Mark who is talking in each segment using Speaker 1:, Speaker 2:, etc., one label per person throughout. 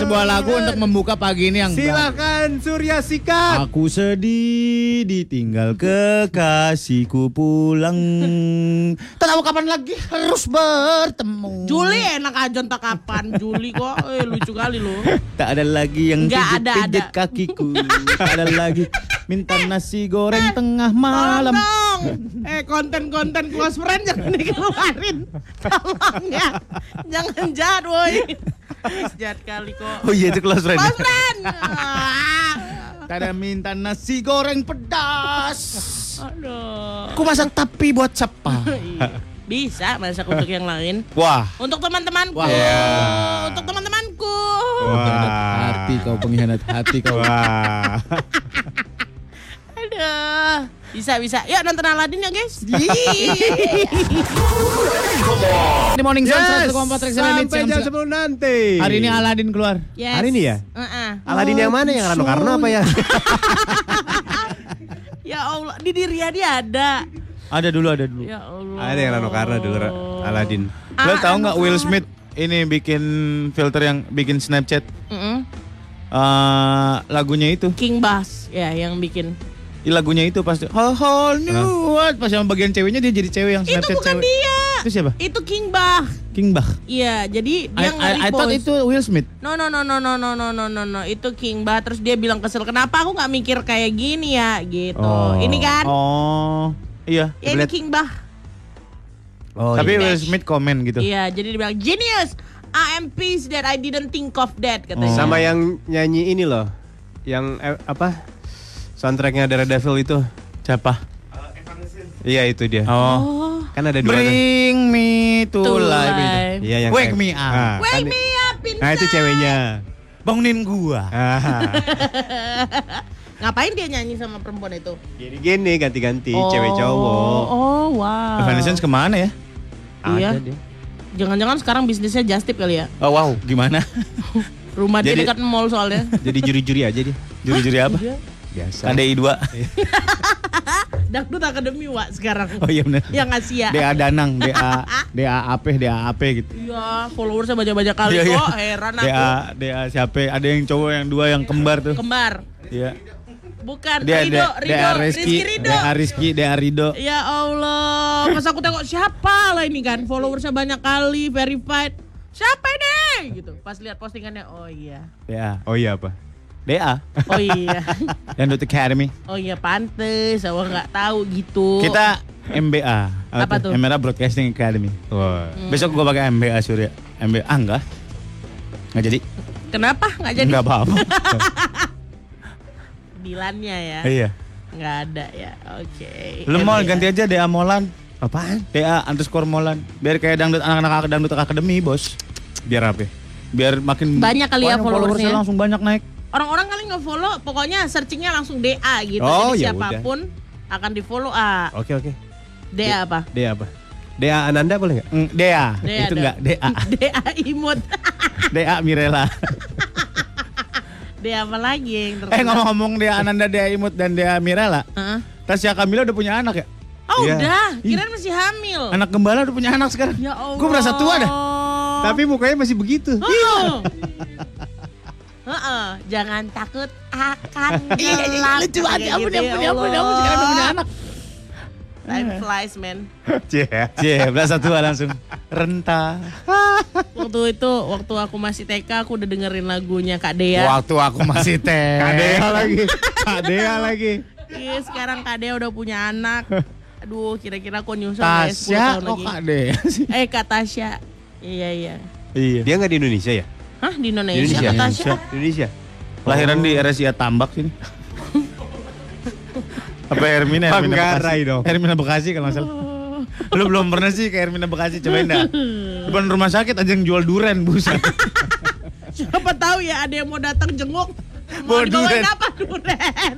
Speaker 1: sebuah lagu untuk membuka pagi ini yang
Speaker 2: Silakan Surya sikat.
Speaker 1: Aku sedih ditinggal kekasihku pulang. Tak tahu kapan lagi harus bertemu.
Speaker 3: Juli enak aja entah kapan Juli kok eh, lucu kali lo
Speaker 1: Tak ada lagi yang
Speaker 3: Nggak ada,
Speaker 1: pijit-pijit
Speaker 3: ada.
Speaker 1: kakiku. Tak ada lagi minta nasi goreng tengah malam.
Speaker 3: dong eh konten-konten close friend jangan dikeluarin tolong ya jangan jahat woi jahat kali kok
Speaker 1: Oh iya itu close friend.
Speaker 3: close friend Ah.
Speaker 1: Tak ada minta nasi goreng pedas.
Speaker 3: aduh
Speaker 1: Aku masak tapi buat siapa?
Speaker 3: bisa masak untuk yang lain
Speaker 2: Wah.
Speaker 3: untuk teman-temanku
Speaker 1: Wah.
Speaker 3: untuk teman-temanku
Speaker 1: Pengkhianat hati kau pengkhianat hati kau. Ah.
Speaker 2: Wah.
Speaker 3: aduh bisa bisa yuk nonton Aladin ya guys
Speaker 1: Di Morning Sun 104
Speaker 2: Yes.
Speaker 1: Rex Indonesia.
Speaker 2: Sampai jam 10 nanti.
Speaker 1: Hari ini Aladin keluar.
Speaker 3: Yes.
Speaker 2: Hari ini ya?
Speaker 3: Heeh.
Speaker 2: Aladin yang mana yang Rano Karno apa ya?
Speaker 3: ya Allah di diri dia ada
Speaker 1: Ada dulu, ada dulu.
Speaker 3: ya Allah
Speaker 2: Ada yang Rano Karno dulu Ra- Aladin.
Speaker 1: Lo
Speaker 3: Ah,
Speaker 1: tau nggak
Speaker 3: aduh.
Speaker 1: Will Smith ini bikin filter yang bikin Snapchat
Speaker 3: Mm-mm.
Speaker 1: eh lagunya itu,
Speaker 3: King Bass ya yang bikin.
Speaker 1: Ih, lagunya itu pasti whole, whole new world pas yang bagian ceweknya dia jadi cewek yang
Speaker 3: itu
Speaker 1: Snapchat
Speaker 3: bukan
Speaker 1: cewek.
Speaker 3: dia.
Speaker 1: Itu siapa?
Speaker 3: Itu King Bah.
Speaker 1: King Bach.
Speaker 3: Iya, jadi
Speaker 1: I, I,
Speaker 3: dia
Speaker 1: I thought
Speaker 3: nge-repost.
Speaker 1: itu Will Smith.
Speaker 3: No no no no no no no no no no itu King Bah terus dia bilang kesel kenapa aku nggak mikir kayak gini ya gitu.
Speaker 2: Oh.
Speaker 3: Ini kan
Speaker 1: Oh, iya.
Speaker 3: ya ini
Speaker 2: Black.
Speaker 3: King Bah.
Speaker 2: Oh,
Speaker 1: Tapi
Speaker 2: iya.
Speaker 1: Will Smith komen gitu.
Speaker 3: Iya, jadi dia bilang genius. I am pissed that I didn't think of that katanya.
Speaker 2: Oh. sama yang nyanyi ini loh. Yang eh, apa? Soundtracknya Daredevil itu.
Speaker 1: Siapa?
Speaker 2: Iya itu dia.
Speaker 1: Oh.
Speaker 3: Oh.
Speaker 2: Kan ada dua. tuh.
Speaker 1: Bring me to,
Speaker 3: To
Speaker 1: life.
Speaker 3: life.
Speaker 1: Itu.
Speaker 2: Iya yang
Speaker 1: Wake
Speaker 2: kayak-
Speaker 1: me up.
Speaker 2: Ah,
Speaker 3: Wake
Speaker 2: kan-
Speaker 3: me up in
Speaker 2: Nah itu ceweknya.
Speaker 1: Bangunin gua.
Speaker 2: Ah.
Speaker 3: Ngapain dia nyanyi sama perempuan itu?
Speaker 2: Jadi gini ganti-ganti
Speaker 1: Oh.
Speaker 2: cewek cowok.
Speaker 3: Oh, wow.
Speaker 1: Evanescence kemana ya?
Speaker 3: Iya.
Speaker 2: dia.
Speaker 3: Jangan-jangan sekarang bisnisnya Justip kali ya?
Speaker 1: Oh wow, gimana?
Speaker 3: Rumah dia
Speaker 2: Jadi-
Speaker 3: dekat mall soalnya.
Speaker 2: Jadi juri-juri aja dia.
Speaker 1: Juri-juri apa?
Speaker 2: Biasa.
Speaker 1: KDI 2.
Speaker 3: Dangdut Akademi wa sekarang.
Speaker 1: Oh iya benar.
Speaker 3: Yang Asia.
Speaker 1: DA Danang, DA DA Ape, DA Ape gitu.
Speaker 3: Iya, followersnya baca-baca kali
Speaker 1: Iya,
Speaker 3: kok.
Speaker 1: iya.
Speaker 3: Heran aku.
Speaker 1: DA DA siapa? Ada yang cowok yang dua yang kembar tuh.
Speaker 3: Kembar.
Speaker 1: Iya.
Speaker 3: Bukan
Speaker 1: Dia
Speaker 3: Kan Rido,
Speaker 1: DA
Speaker 3: Rido,
Speaker 1: DA
Speaker 3: Rizky
Speaker 1: Reski,
Speaker 3: Rido.
Speaker 1: DA Rizky, DA Rido.
Speaker 3: Ya Allah, pas aku tengok siapa lah ini kan followersnya banyak kali, verified. Siapa ini? Gitu. Pas lihat postingannya, oh iya.
Speaker 1: DA.
Speaker 2: Oh iya apa?
Speaker 1: DA.
Speaker 3: Oh iya.
Speaker 1: Dangdut Academy.
Speaker 3: Oh iya pantes, aku nggak tahu gitu.
Speaker 1: Kita MBA.
Speaker 3: Apa tuh?
Speaker 1: MBA Broadcasting Academy.
Speaker 2: Wah.
Speaker 1: Besok gua pakai MBA Surya. MBA ah, enggak. Enggak jadi.
Speaker 3: Kenapa nggak jadi
Speaker 1: Enggak apa-apa.
Speaker 3: dilannya ya?
Speaker 1: iya.
Speaker 3: Nggak ada ya. Oke.
Speaker 1: Lu mau
Speaker 3: Iya.
Speaker 1: ganti aja DA Molan.
Speaker 2: Apaan?
Speaker 1: DA underscore Molan. Biar kayak dangdut anak-anak dangdut akademi, Bos.
Speaker 2: Biar apa?
Speaker 1: biar makin
Speaker 3: Banyak kali
Speaker 1: Wah,
Speaker 3: ya
Speaker 1: yang
Speaker 3: followersnya.
Speaker 1: langsung banyak naik
Speaker 3: Orang-orang kali nggak follow, pokoknya searchingnya langsung DA gitu.
Speaker 2: Oh, ya
Speaker 3: jadi siapapun akan di follow A.
Speaker 2: Oke oke.
Speaker 3: DA apa?
Speaker 2: Dea apa? Dea Ananda boleh nggak?
Speaker 1: Mm, Dea,
Speaker 3: Dea,
Speaker 1: itu
Speaker 3: Dea.
Speaker 1: enggak Dea
Speaker 3: DA imut.
Speaker 1: Dea Mirela
Speaker 3: DA apa lagi yang terkenal?
Speaker 1: eh ngomong-ngomong Dea Ananda Dea Imut dan Dea Mirela
Speaker 3: Hah?
Speaker 1: Tasya Kamila udah punya anak ya
Speaker 3: Oh
Speaker 2: Iya.
Speaker 3: udah, kirain masih hamil.
Speaker 1: anak gembala udah punya anak sekarang
Speaker 3: Ya Allah.
Speaker 1: gue merasa tua dah
Speaker 2: Tapi mukanya masih begitu.
Speaker 3: Heeh. Heeh, jangan takut akan
Speaker 1: Iya,
Speaker 3: gelap. Lucu banget,
Speaker 1: Ya
Speaker 3: ampun, ampun, ampun, ampun, sekarang udah punya anak. Time flies, man.
Speaker 1: Cie, berasa tua langsung renta
Speaker 3: Waktu itu, waktu aku masih TK, aku udah dengerin lagunya Kak Dea.
Speaker 1: waktu aku masih teh
Speaker 2: Kak Dea lagi. Kak Dea lagi.
Speaker 3: Iya sekarang Kak Dea udah punya anak. Aduh, kira-kira aku nyusul kayak 10
Speaker 1: Tasya
Speaker 3: tahun
Speaker 1: kok
Speaker 3: lagi.
Speaker 1: Kak Dea sih
Speaker 3: Eh, Kak Tasya. Iya, iya.
Speaker 1: iya
Speaker 2: Dia nggak di Indonesia ya?
Speaker 3: Hah, di Indonesia,
Speaker 2: Di Indonesia.
Speaker 3: Kak Tasya?
Speaker 2: Indonesia.
Speaker 1: Oh. lahiran di RSIA Tambak sini apa Hermina Hermina
Speaker 2: Manggarai
Speaker 1: Bekasi
Speaker 2: dong.
Speaker 1: Hermina Bekasi kalau nggak salah lu belum pernah sih ke Hermina Bekasi cobain dah depan rumah sakit aja yang jual duren buset
Speaker 3: Siapa tahu ya ada yang mau datang jenguk. Mau
Speaker 1: Bawa
Speaker 3: dibawain
Speaker 1: duren.
Speaker 3: apa duren?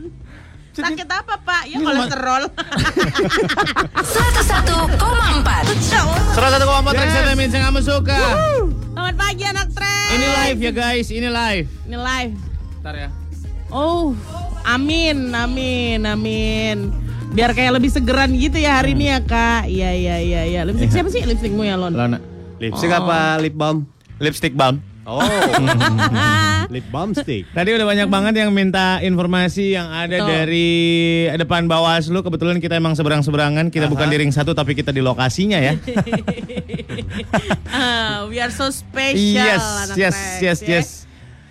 Speaker 3: Sakit apa, Pak? Ya kolesterol.
Speaker 4: 101,4
Speaker 1: Salah satu kompak
Speaker 2: Yes.
Speaker 1: yes. yang kamu suka.
Speaker 3: Selamat pagi anak tren.
Speaker 1: Ini live ya guys, ini live.
Speaker 3: Ini live.
Speaker 1: Ntar ya.
Speaker 3: Oh, amin, amin, amin. Biar kayak lebih segeran gitu ya hari ini ya,
Speaker 1: Hmm.
Speaker 3: Kak. Iya, iya, iya, iya. Lipstick siapa sih lipstickmu ya, Lon?
Speaker 1: Lana.
Speaker 2: Lipstick apa lip balm?
Speaker 1: Lipstick balm.
Speaker 2: Oh, lip balm stick.
Speaker 1: Tadi udah banyak banget yang minta informasi yang ada
Speaker 3: Betul.
Speaker 1: dari depan Bawaslu. Kebetulan kita emang seberang-seberangan. Kita bukan di ring satu tapi kita di lokasinya ya.
Speaker 3: Ah, we are so special.
Speaker 1: yes,
Speaker 3: anak
Speaker 1: yes,
Speaker 3: Rex,
Speaker 1: yes,
Speaker 3: Iya, ya.
Speaker 1: yes.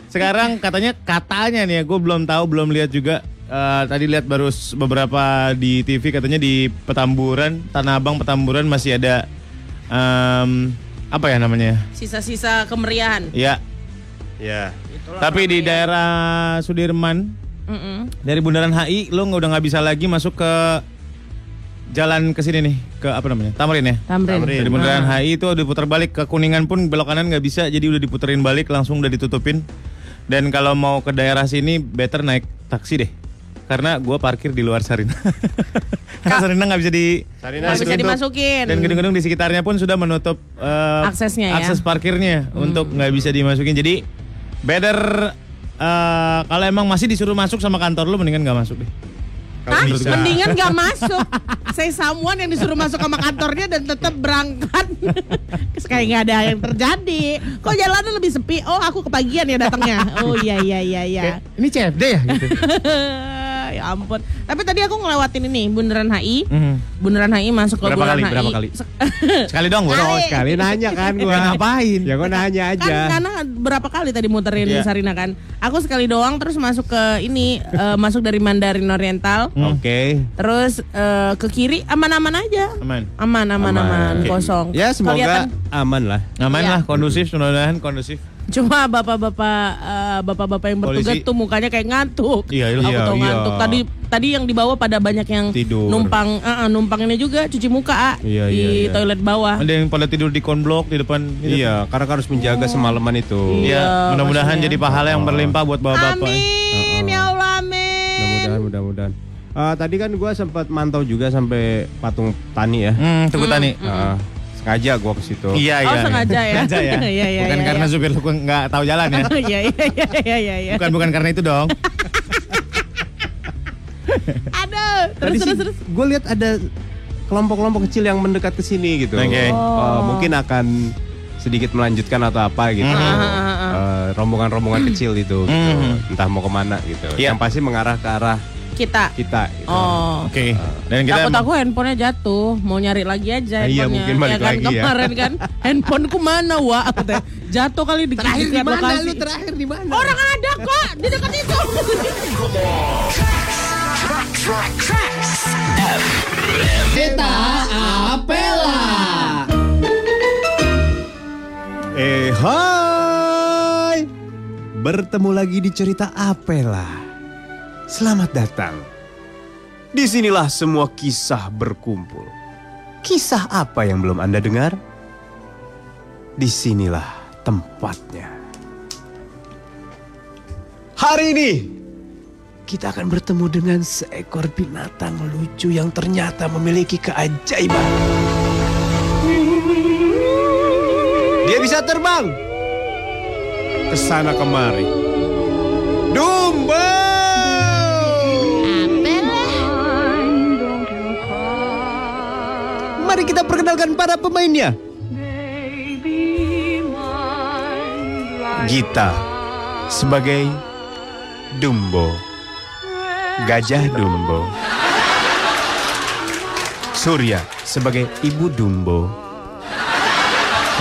Speaker 1: Sekarang katanya katanya nih ya, gue belum tahu, belum lihat juga. Eh, tadi lihat baru s- beberapa di TV katanya di Petamburan, Tanah Abang Petamburan masih ada em, apa ya namanya?
Speaker 3: Sisa-sisa kemeriahan.
Speaker 1: Ya. Ya. Tapi di daerah Sudirman
Speaker 3: Mm-mm.
Speaker 1: dari Bundaran HI lo nggak udah nggak bisa lagi masuk ke jalan ke sini nih ke apa namanya Tamrin ya
Speaker 3: Tamrin. Ah.
Speaker 1: dari Bundaran HI itu udah putar balik ke Kuningan pun belok kanan nggak bisa jadi udah diputerin balik langsung udah ditutupin dan kalau mau ke daerah sini better naik taksi deh karena gua parkir di luar Sarina karena Sarina nggak bisa di
Speaker 2: Sarina
Speaker 3: Nggak bisa
Speaker 1: ditutup.
Speaker 3: dimasukin.
Speaker 1: dan gedung-gedung di sekitarnya pun sudah menutup eh,
Speaker 3: Aksesnya ya. Hmm.
Speaker 1: akses parkirnya untuk nggak bisa dimasukin jadi better eh, kalau emang masih disuruh masuk sama kantor lu mendingan nggak masuk deh
Speaker 3: Hah?
Speaker 1: menurut gua.
Speaker 3: Mendingan gak masuk. Saya someone yang disuruh masuk sama kantornya dan tetap berangkat. Terus Kayak nggak ada yang terjadi. Kok jalanan lebih sepi? Oh aku kepagian ya datangnya. Oh iya iya iya iya.
Speaker 1: Kayak, ini CFD ya gitu.
Speaker 3: ya ampun. Tapi tadi aku ngelewatin ini Bundaran HI.
Speaker 1: Mhm.
Speaker 3: Bundaran HI masuk ke
Speaker 1: Berapa
Speaker 3: Bundaran
Speaker 1: kali?
Speaker 3: HI.
Speaker 1: Berapa kali?
Speaker 3: Se-
Speaker 1: Sekali doang gue.
Speaker 3: Kali.
Speaker 2: Oh, Sekali nanya kan
Speaker 1: Ya
Speaker 2: gua.
Speaker 1: ngapain?
Speaker 2: Ya gua nanya
Speaker 3: kan
Speaker 2: aja.
Speaker 3: karena berapa kali tadi muterin
Speaker 1: Iya.
Speaker 3: Sarina kan. Aku sekali doang terus masuk ke ini eh, masuk dari Mandarin Oriental.
Speaker 2: Hmm. Oke.
Speaker 3: Terus eh, ke kiri aman-aman aja.
Speaker 1: Aman.
Speaker 3: Aman aman aman,
Speaker 2: Oke.
Speaker 3: kosong.
Speaker 2: Ya semoga
Speaker 3: Kelihatan-
Speaker 2: aman lah.
Speaker 1: Aman
Speaker 3: Iya.
Speaker 1: lah, kondusif, mudah-mudahan kondusif.
Speaker 3: Cuma bapak-bapak eh, bapak-bapak yang bertugas
Speaker 1: Polisi.
Speaker 3: tuh mukanya kayak ngantuk.
Speaker 1: Iya,
Speaker 3: Aku
Speaker 1: iya,
Speaker 3: tuh
Speaker 1: iya.
Speaker 3: ngantuk. Tadi tadi yang di bawah pada banyak yang
Speaker 2: Tidur.
Speaker 3: numpang eh, eh, numpang ini juga cuci muka ah,
Speaker 2: Iya,
Speaker 3: di
Speaker 2: iya, iya.
Speaker 3: toilet bawah.
Speaker 1: Ada yang pada tidur di konblok di depan. gitu.
Speaker 2: Iya, karena harus menjaga semalaman itu.
Speaker 1: Iya,
Speaker 3: Oh. Iya,
Speaker 1: mudah-mudahan
Speaker 3: maksudnya.
Speaker 1: jadi pahala yang berlimpah buat bapak-bapak. Eh,
Speaker 3: Amin ya Allah amin.
Speaker 2: Mudah-mudahan, mudah-mudahan. Eh, tadi kan gua sempat mantau juga sampai patung tani ya.
Speaker 1: Hmm, Teguh Tani.
Speaker 2: Eh, sengaja gua ke situ.
Speaker 1: Iya,
Speaker 3: Oh, sengaja ya?
Speaker 1: Sengaja ya.
Speaker 3: Iya, iya,
Speaker 1: bukan
Speaker 3: iya,
Speaker 1: karena
Speaker 3: iya.
Speaker 1: supir lu nggak tahu jalan ya.
Speaker 3: Iya iya iya iya iya. iya.
Speaker 1: Bukan bukan karena itu dong.
Speaker 3: Aduh, terus terus terus.
Speaker 2: Gue lihat ada kelompok-kelompok kecil yang mendekat ke sini gitu.
Speaker 1: Oke.
Speaker 2: Eh,
Speaker 3: Oh.
Speaker 2: mungkin akan sedikit melanjutkan atau apa gitu.
Speaker 3: Mm-hmm.
Speaker 2: Eh, Rombongan-rombongan kecil itu, gitu.
Speaker 1: Mhm.
Speaker 2: entah mau kemana gitu.
Speaker 1: Iya.
Speaker 2: Yang pasti mengarah ke arah
Speaker 3: Kita.
Speaker 2: kita. Gitu.
Speaker 3: Oh.
Speaker 1: Oke. Dan kita
Speaker 3: Takut aku handphonenya jatuh, mau nyari lagi aja
Speaker 2: Ah, iya,
Speaker 3: handphonenya.
Speaker 2: mungkin balik
Speaker 3: ya kan,
Speaker 2: lagi ya.
Speaker 3: Kemarin kan, handphoneku mana wa? Aku teh, jatuh kali di terakhir di lokasi.
Speaker 2: terakhir di mana?
Speaker 3: Orang ada kok di dekat itu.
Speaker 2: Eh, hai. Bertemu lagi di cerita Apela. Selamat datang. Disinilah semua kisah berkumpul. Kisah apa yang belum Anda dengar? Disinilah tempatnya. Hari ini kita akan bertemu dengan seekor binatang lucu yang ternyata memiliki keajaiban. Dia bisa terbang. Kesana kemari. Dumbo! Mari kita perkenalkan para pemainnya. Gita sebagai Dumbo. Gajah Dumbo. Surya sebagai Ibu Dumbo.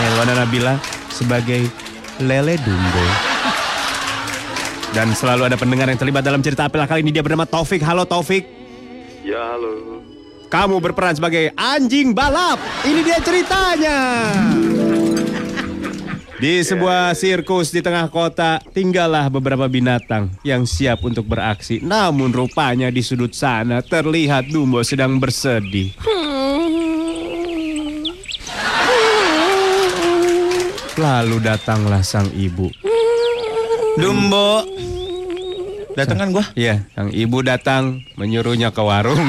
Speaker 2: Helena Nabila Eh, sebagai Lele Dumbo. Dan selalu ada pendengar yang terlibat dalam cerita apel kali ini dia bernama Taufik. Halo Taufik.
Speaker 5: Ya halo.
Speaker 2: Kamu berperan sebagai anjing balap. Ini dia ceritanya.
Speaker 5: Ya.
Speaker 2: Di sebuah sirkus di tengah kota tinggallah beberapa binatang yang siap untuk beraksi. Namun rupanya di sudut sana terlihat Dumbo sedang bersedih. Lalu datanglah sang ibu.
Speaker 1: Dumbo. Datang kan gua.
Speaker 2: Ya, sang ibu datang menyuruhnya ke warung.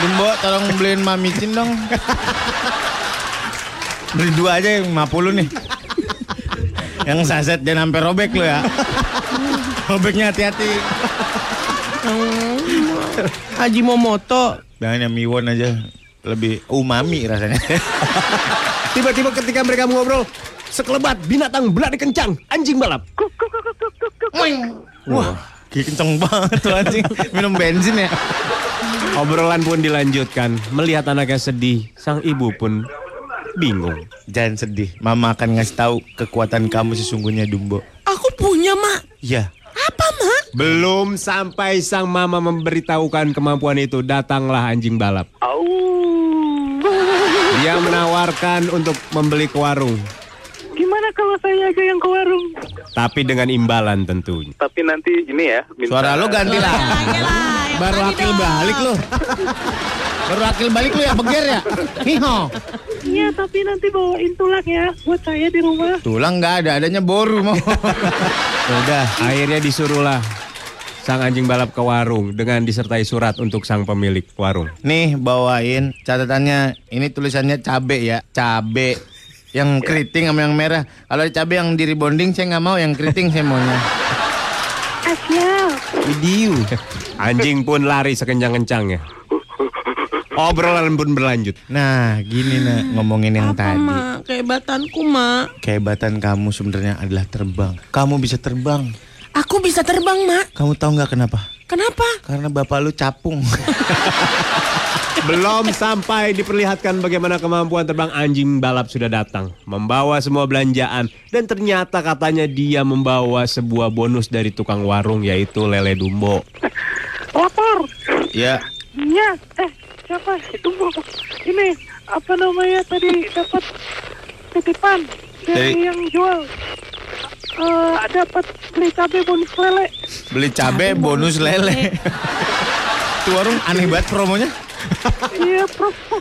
Speaker 1: Dumbo tolong beliin mamicin dong. Beli dua aja yang 50 nih. yang saset jangan sampai robek lo ya. Robeknya hati-hati.
Speaker 3: Haji Momoto.
Speaker 1: Jangan yang miwon aja lebih umami rasanya.
Speaker 2: Tiba-tiba ketika mereka mengobrol, sekelebat binatang belari kencang anjing balap.
Speaker 1: Wah, gila kenceng banget tuh anjing. Minum bensin ya.
Speaker 2: Obrolan pun dilanjutkan. Melihat anaknya sedih, sang ibu pun bingung.
Speaker 1: Jangan sedih. Mama akan ngasih tahu kekuatan kamu sesungguhnya Dumbo.
Speaker 3: Aku punya mak.
Speaker 1: Ya.
Speaker 3: Apa mak?
Speaker 2: Belum sampai sang mama memberitahukan kemampuan itu, datanglah anjing balap.
Speaker 6: Au.
Speaker 2: Dia menawarkan untuk membeli ke warung,
Speaker 6: Gimana kalau saya aja yang ke warung?
Speaker 2: tapi dengan imbalan tentunya.
Speaker 6: Tapi nanti ini ya. Minta
Speaker 1: Suara lo ganti lah.
Speaker 3: Baru akil balik loh.
Speaker 1: Baru akil balik lo ya beger ya. Hiho.
Speaker 7: Iya, tapi nanti bawain tulang ya buat saya di rumah.
Speaker 1: Tulang nggak ada, adanya boru mau.
Speaker 2: Udah, akhirnya disuruhlah sang anjing balap ke warung dengan disertai surat untuk sang pemilik warung.
Speaker 1: Nih bawain catatannya. Ini tulisannya cabe ya, cabe. Yang keriting sama yang merah. Kalau cabe yang di rebonding saya nggak mau, yang keriting saya maunya.
Speaker 7: Asyal.
Speaker 2: Idiu. Anjing pun lari sekencang-kencangnya. Obrolan pun berlanjut.
Speaker 1: Nah, gini nah ngomongin yang
Speaker 3: Apa
Speaker 1: tadi.
Speaker 3: mak? Kehebatanku mak.
Speaker 1: Kehebatan kamu sebenarnya adalah terbang. Kamu bisa terbang.
Speaker 3: Aku bisa terbang mak.
Speaker 1: Kamu tahu nggak kenapa?
Speaker 3: Kenapa?
Speaker 1: Karena bapak lu capung.
Speaker 2: Belum sampai diperlihatkan bagaimana kemampuan terbang anjing balap sudah datang, membawa semua belanjaan dan ternyata katanya dia membawa sebuah bonus dari tukang warung yaitu lele dumbo.
Speaker 7: Lapor.
Speaker 1: ya,
Speaker 7: Iya. Eh, siapa? Itu Bu. Ini apa namanya tadi dapat titipan dari
Speaker 1: Dari-
Speaker 7: yang jual. Eh, dapat beli cabe bonus lele.
Speaker 1: beli cabe bonus lele. Itu warung aneh banget promonya.
Speaker 7: Iya, promo.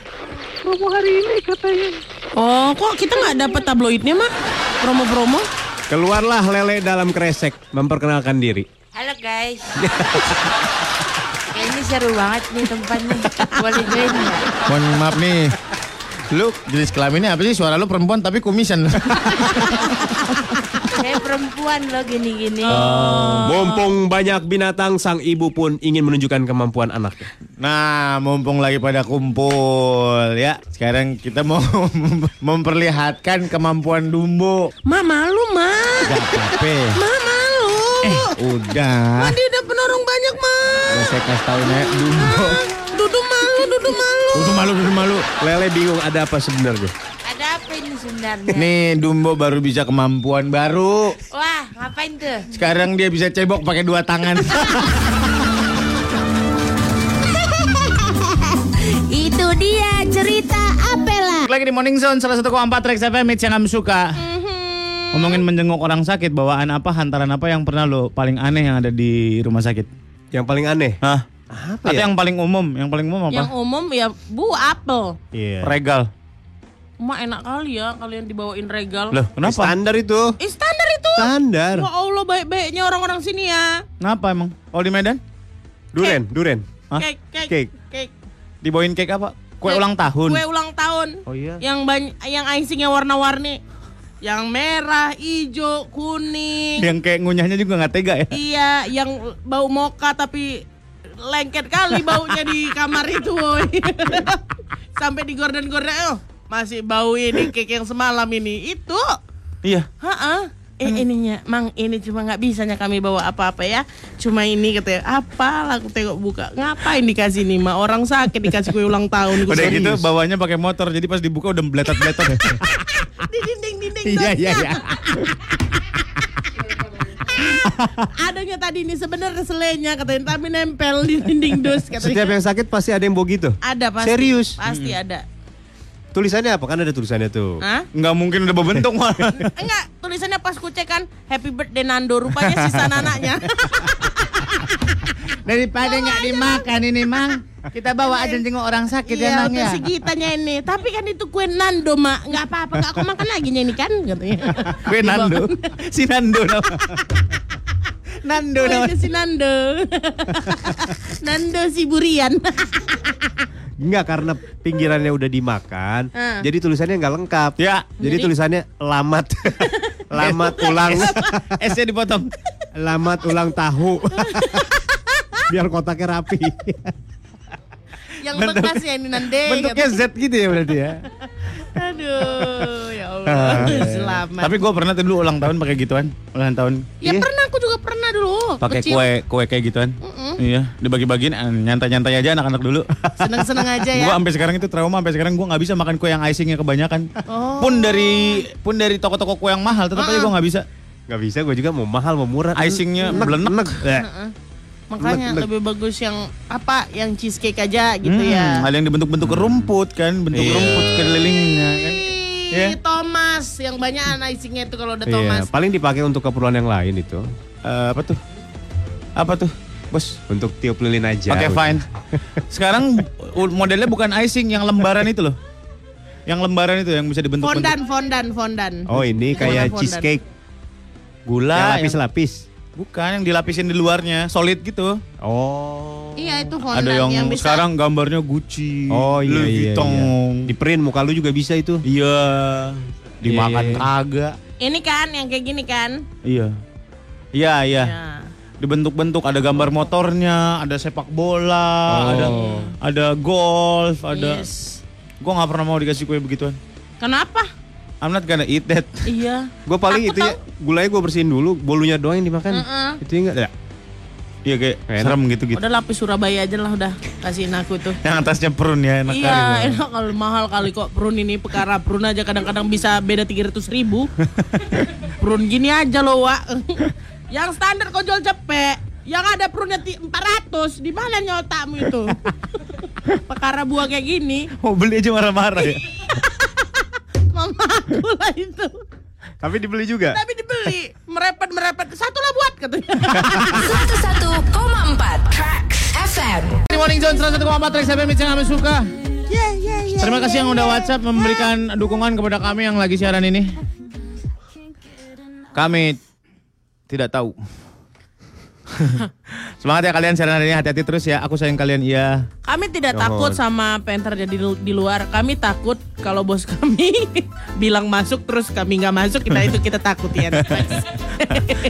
Speaker 7: Promo hari ini katanya.
Speaker 3: Oh, kok kita nggak dapat tabloidnya mak? Promo-promo?
Speaker 2: Keluarlah lele dalam kresek memperkenalkan diri.
Speaker 4: Halo guys. Kayaknya seru banget nih tempatnya. Boleh join nggak?
Speaker 1: Mohon maaf nih. Lu jenis kelaminnya apa sih? Suara lu perempuan tapi kumisan.
Speaker 4: Saya perempuan loh gini-gini.
Speaker 3: Oh.
Speaker 2: Mumpung banyak binatang, sang ibu pun ingin menunjukkan kemampuan anaknya.
Speaker 1: Nah, mumpung lagi pada kumpul ya. Sekarang kita mau memperlihatkan kemampuan Dumbo.
Speaker 3: Mak malu mak.
Speaker 1: Gak apa-apa.
Speaker 3: Mak malu.
Speaker 8: Eh.
Speaker 1: Udah.
Speaker 3: Tadi udah penorong banyak mak.
Speaker 1: Udah Saya kasih tau nih Dumbo.
Speaker 3: Dudu malu, dudu malu.
Speaker 1: Duduk malu, duduk malu.
Speaker 2: Lele bingung ada apa sebenarnya.
Speaker 4: Ada apa ini sebenarnya?
Speaker 1: Nih Dumbo baru bisa kemampuan baru.
Speaker 4: Wah, ngapain tuh?
Speaker 1: Sekarang dia bisa cebok pakai dua tangan.
Speaker 9: Itu dia cerita Apela.
Speaker 1: Lagi di Morning Zone salah satu Trax FM hits yang kamu suka. Ngomongin menjenguk orang sakit, bawaan apa, hantaran apa yang pernah lo paling aneh yang ada di rumah sakit?
Speaker 2: Yang paling aneh,
Speaker 1: Hah?
Speaker 2: apa
Speaker 1: Atau
Speaker 2: ya?
Speaker 1: yang paling umum, yang paling umum
Speaker 3: Yang
Speaker 1: apa?
Speaker 3: umum ya bu apel.
Speaker 2: Iya.
Speaker 1: Regal.
Speaker 3: Mak enak kali ya kalian dibawain regal.
Speaker 1: Loh, kenapa?
Speaker 2: Standar itu.
Speaker 3: Eh, standar itu.
Speaker 2: Standar.
Speaker 3: Ya Allah baik-baiknya orang-orang sini ya.
Speaker 1: Kenapa emang? Kalau di Medan
Speaker 2: Duren, duren.
Speaker 1: Hah?
Speaker 3: Cake, cake,
Speaker 1: Cake.
Speaker 3: cake.
Speaker 1: dibawain cake apa? Kue
Speaker 3: Cake.
Speaker 1: ulang tahun.
Speaker 3: Kue ulang tahun.
Speaker 1: Oh iya.
Speaker 3: Yang banyak yang icingnya warna-warni. Yang merah, hijau, kuning.
Speaker 1: Yang kayak ngunyahnya juga nggak tega ya.
Speaker 3: Iya, yang bau moka tapi lengket kali baunya di kamar itu. woy. Sampai digorden-gorden. Oh, masih bau ini cake yang semalam ini. Itu.
Speaker 1: Iya.
Speaker 3: Heeh. Eh
Speaker 1: Hmm.
Speaker 3: ininya, Mang ini cuma nggak bisanya kami bawa apa-apa ya. Cuma ini katanya, apalah aku tengok buka. Ngapain dikasih nih, Ma? Orang sakit dikasih kue ulang tahun.
Speaker 1: Udah gitu
Speaker 3: Serius.
Speaker 1: bawanya pakai motor, jadi pas dibuka udah beletot-beletot.
Speaker 10: Iya,
Speaker 1: ya.
Speaker 3: Di dinding-dinding
Speaker 1: Iya, iya,
Speaker 3: dosnya.
Speaker 1: iya.
Speaker 3: Adanya tadi ini sebenarnya selenya katanya, tapi nempel di dinding dos
Speaker 2: Setiap
Speaker 3: katanya.
Speaker 2: yang sakit pasti ada yang gitu. begitu.
Speaker 3: Ada pasti.
Speaker 2: Serius?
Speaker 3: Pasti ada.
Speaker 2: Tulisannya apa? Kan ada tulisannya tuh.
Speaker 3: Hah?
Speaker 1: Nggak mungkin udah berbentuk malah.
Speaker 3: Enggak, tulisannya pas ku cek kan Happy Birthday Nando rupanya sisa nanaknya.
Speaker 10: Daripada nggak dimakan ini, Mang. Kita bawa aja jenguk orang sakit ya,
Speaker 3: Iya,
Speaker 10: Mang
Speaker 3: untuk
Speaker 10: ya.
Speaker 3: segitanya ini. Tapi kan itu kue Nando, Mak. Enggak apa-apa, enggak aku makan lagi ini kan katanya.
Speaker 1: Kue
Speaker 10: Iya,
Speaker 1: Nando. Si Nando nama.
Speaker 10: Nando
Speaker 3: Kue
Speaker 10: namanya.
Speaker 3: si Nando. Nando si burian.
Speaker 2: Enggak karena pinggirannya udah dimakan,
Speaker 3: Ah.
Speaker 2: jadi tulisannya nggak lengkap.
Speaker 1: Ya.
Speaker 2: Jadi, tulisannya lamat, lamat ulang,
Speaker 1: S-nya dipotong.
Speaker 2: lamat ulang tahu. Biar kotaknya rapi.
Speaker 3: Yang bekasnya ini Nande.
Speaker 1: Bentuknya
Speaker 3: katanya.
Speaker 1: Z gitu ya berarti ya.
Speaker 3: Aduh, ya
Speaker 1: Ah.
Speaker 3: Allah. Selamat.
Speaker 1: Tapi gue pernah tuh dulu ulang tahun pakai gituan, ulang tahun.
Speaker 7: Ya pernah aku juga pernah dulu.
Speaker 1: Pakai
Speaker 7: kecil.
Speaker 1: kue kue kayak gituan. Iya, dibagi-bagiin eh, nyantai-nyantai aja anak-anak dulu.
Speaker 3: Seneng-seneng aja ya.
Speaker 1: Gue sampai sekarang itu trauma, sampai sekarang gue nggak bisa makan kue yang icingnya kebanyakan.
Speaker 3: Oh. Ah.
Speaker 1: Pun dari pun dari toko-toko kue yang mahal, tetap aja gue nggak bisa.
Speaker 2: Gak bisa, gue juga mau mahal, mau murah.
Speaker 1: Icingnya belenek. Eh.
Speaker 3: Makanya lebih bagus yang apa? Yang cheesecake aja gitu
Speaker 1: Hmm,
Speaker 3: ya.
Speaker 1: Ada yang dibentuk-bentuk rumput kan, bentuk
Speaker 2: Iya.
Speaker 1: rumput kelilingnya kan. Ya.
Speaker 3: Ih, Thomas yang banyak icingnya itu kalau udah
Speaker 2: Iya,
Speaker 3: Thomas.
Speaker 2: paling dipakai untuk keperluan yang lain itu.
Speaker 1: Eh, apa tuh? Apa tuh? Bos,
Speaker 2: Untuk tiup lilin aja.
Speaker 1: Oke fine. Sekarang u- modelnya bukan icing yang lembaran itu loh. Yang lembaran itu yang bisa dibentuk
Speaker 3: Fondan, fondan, fondan.
Speaker 2: Oh ini kayak
Speaker 3: Warna fondant.
Speaker 2: cheesecake.
Speaker 1: Gula
Speaker 2: Yang
Speaker 1: Ah, yang-
Speaker 2: lapis-lapis.
Speaker 1: bukan yang dilapisin di luarnya, solid gitu.
Speaker 2: Oh.
Speaker 3: Iya itu fondan
Speaker 1: Ada yang,
Speaker 3: bisa-
Speaker 1: sekarang gambarnya Gucci,
Speaker 2: Oh iya,
Speaker 1: Louis
Speaker 2: iya,
Speaker 1: Vuitton.
Speaker 2: iya. Di print muka lu juga bisa itu.
Speaker 1: Iya. Dimakan
Speaker 2: Iya.
Speaker 1: kagak.
Speaker 3: Ini kan yang kayak gini kan?
Speaker 1: Iya. Iya, iya.
Speaker 3: Ya.
Speaker 1: Dibentuk-bentuk ada gambar motornya, ada sepak bola,
Speaker 2: Oh.
Speaker 1: ada ada golf, ada
Speaker 3: Yes.
Speaker 1: Gua nggak pernah mau dikasih kue begituan.
Speaker 3: Kenapa?
Speaker 1: I'm not gonna eat that.
Speaker 3: Iya.
Speaker 2: Gue paling itu ya, gulanya gue bersihin dulu, bolunya doang yang dimakan. Itu enggak ya?
Speaker 1: Iya kayak
Speaker 2: Enak.
Speaker 1: serem gitu-gitu.
Speaker 3: Udah lapis Surabaya aja lah udah kasihin aku tuh.
Speaker 1: Yang atasnya perun ya enak
Speaker 3: iya,
Speaker 1: kali.
Speaker 3: enak kalau mahal kali kok perun ini perkara perun aja kadang-kadang bisa beda 300 ribu. perun gini aja loh, Wak. yang standar kau jual cepet, yang ada perunnya ti- 400, di mana nyotamu itu? perkara buah kayak gini,
Speaker 1: Mau beli aja marah-marah ya.
Speaker 3: mama aku lah itu.
Speaker 2: Tapi dibeli juga.
Speaker 3: Tapi dibeli, merepet-merepet, satu lah buat katanya.
Speaker 11: 101,4 Tracks FM.
Speaker 1: Di Morning Zone 101,4 Trax FM, Mitch yang kami suka. Terima kasih yang udah WhatsApp memberikan dukungan kepada kami yang lagi siaran ini. Kami tidak tahu. Semangat ya kalian siaran hari ini hati-hati terus ya. Aku sayang kalian iya.
Speaker 3: Kami tidak takut sama apa yang terjadi di- di luar. Kami takut kalau bos kami bilang masuk terus kami nggak masuk. Kita itu kita takut ya.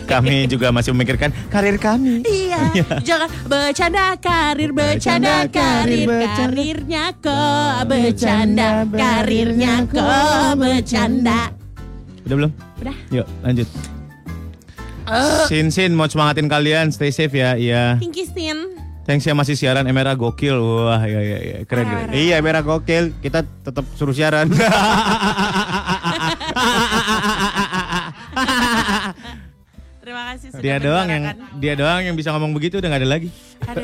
Speaker 1: Kami juga masih memikirkan karir kami.
Speaker 3: iya. Jangan bercanda karir bercanda karir karirnya kok bercanda karirnya kok bercanda.
Speaker 1: Udah belum?
Speaker 3: Udah. Eh.
Speaker 1: Yuk lanjut. Sin Sin mau semangatin kalian stay safe ya. Iya.
Speaker 3: Thank you, Sin.
Speaker 1: Thanks ya masih siaran Emera gokil. Wah, ya ya ya keren keren.
Speaker 2: Iya merah gokil, kita tetap suruh siaran. Eh,
Speaker 3: Terima kasih sudah
Speaker 1: Dia doang yang
Speaker 3: mendengarkan.
Speaker 1: dia doang yang bisa ngomong begitu udah nggak ada lagi.
Speaker 3: Aduh.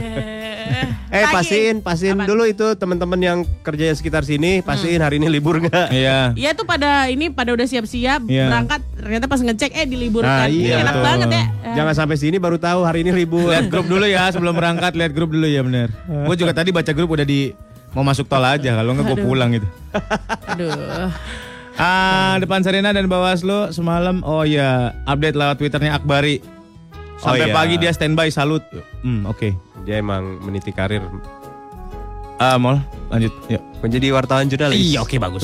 Speaker 2: eh
Speaker 3: Lagi.
Speaker 2: pastiin, pastiin dulu itu teman-teman yang kerja sekitar sini,
Speaker 3: Mm.
Speaker 2: pastiin hari ini libur nggak?
Speaker 1: Iya.
Speaker 3: Iya tuh pada ini pada udah siap-siap
Speaker 1: Iya. Ah,
Speaker 3: berangkat ternyata pas ngecek eh diliburkan.
Speaker 2: Nah, iya,
Speaker 3: Enak
Speaker 1: betul.
Speaker 3: banget ya. Eh,
Speaker 2: Jangan sampai sini baru tahu hari ini libur.
Speaker 1: Lihat grup dulu ya sebelum berangkat lihat grup dulu ya bener. Gue juga tadi baca grup udah di mau masuk tol aja kalau nggak gue pulang gitu.
Speaker 3: Aduh.
Speaker 1: Ah depan Serena dan Bawaslu semalam oh ya update lewat twitternya Akbari.
Speaker 2: Oh,
Speaker 1: Sampai
Speaker 2: iya.
Speaker 1: pagi dia standby salut. Hmm oke.
Speaker 2: Dia emang meniti karir
Speaker 1: Ah Mol lanjut. Yuk.
Speaker 2: menjadi wartawan jurnalis.
Speaker 1: Iya oke bagus.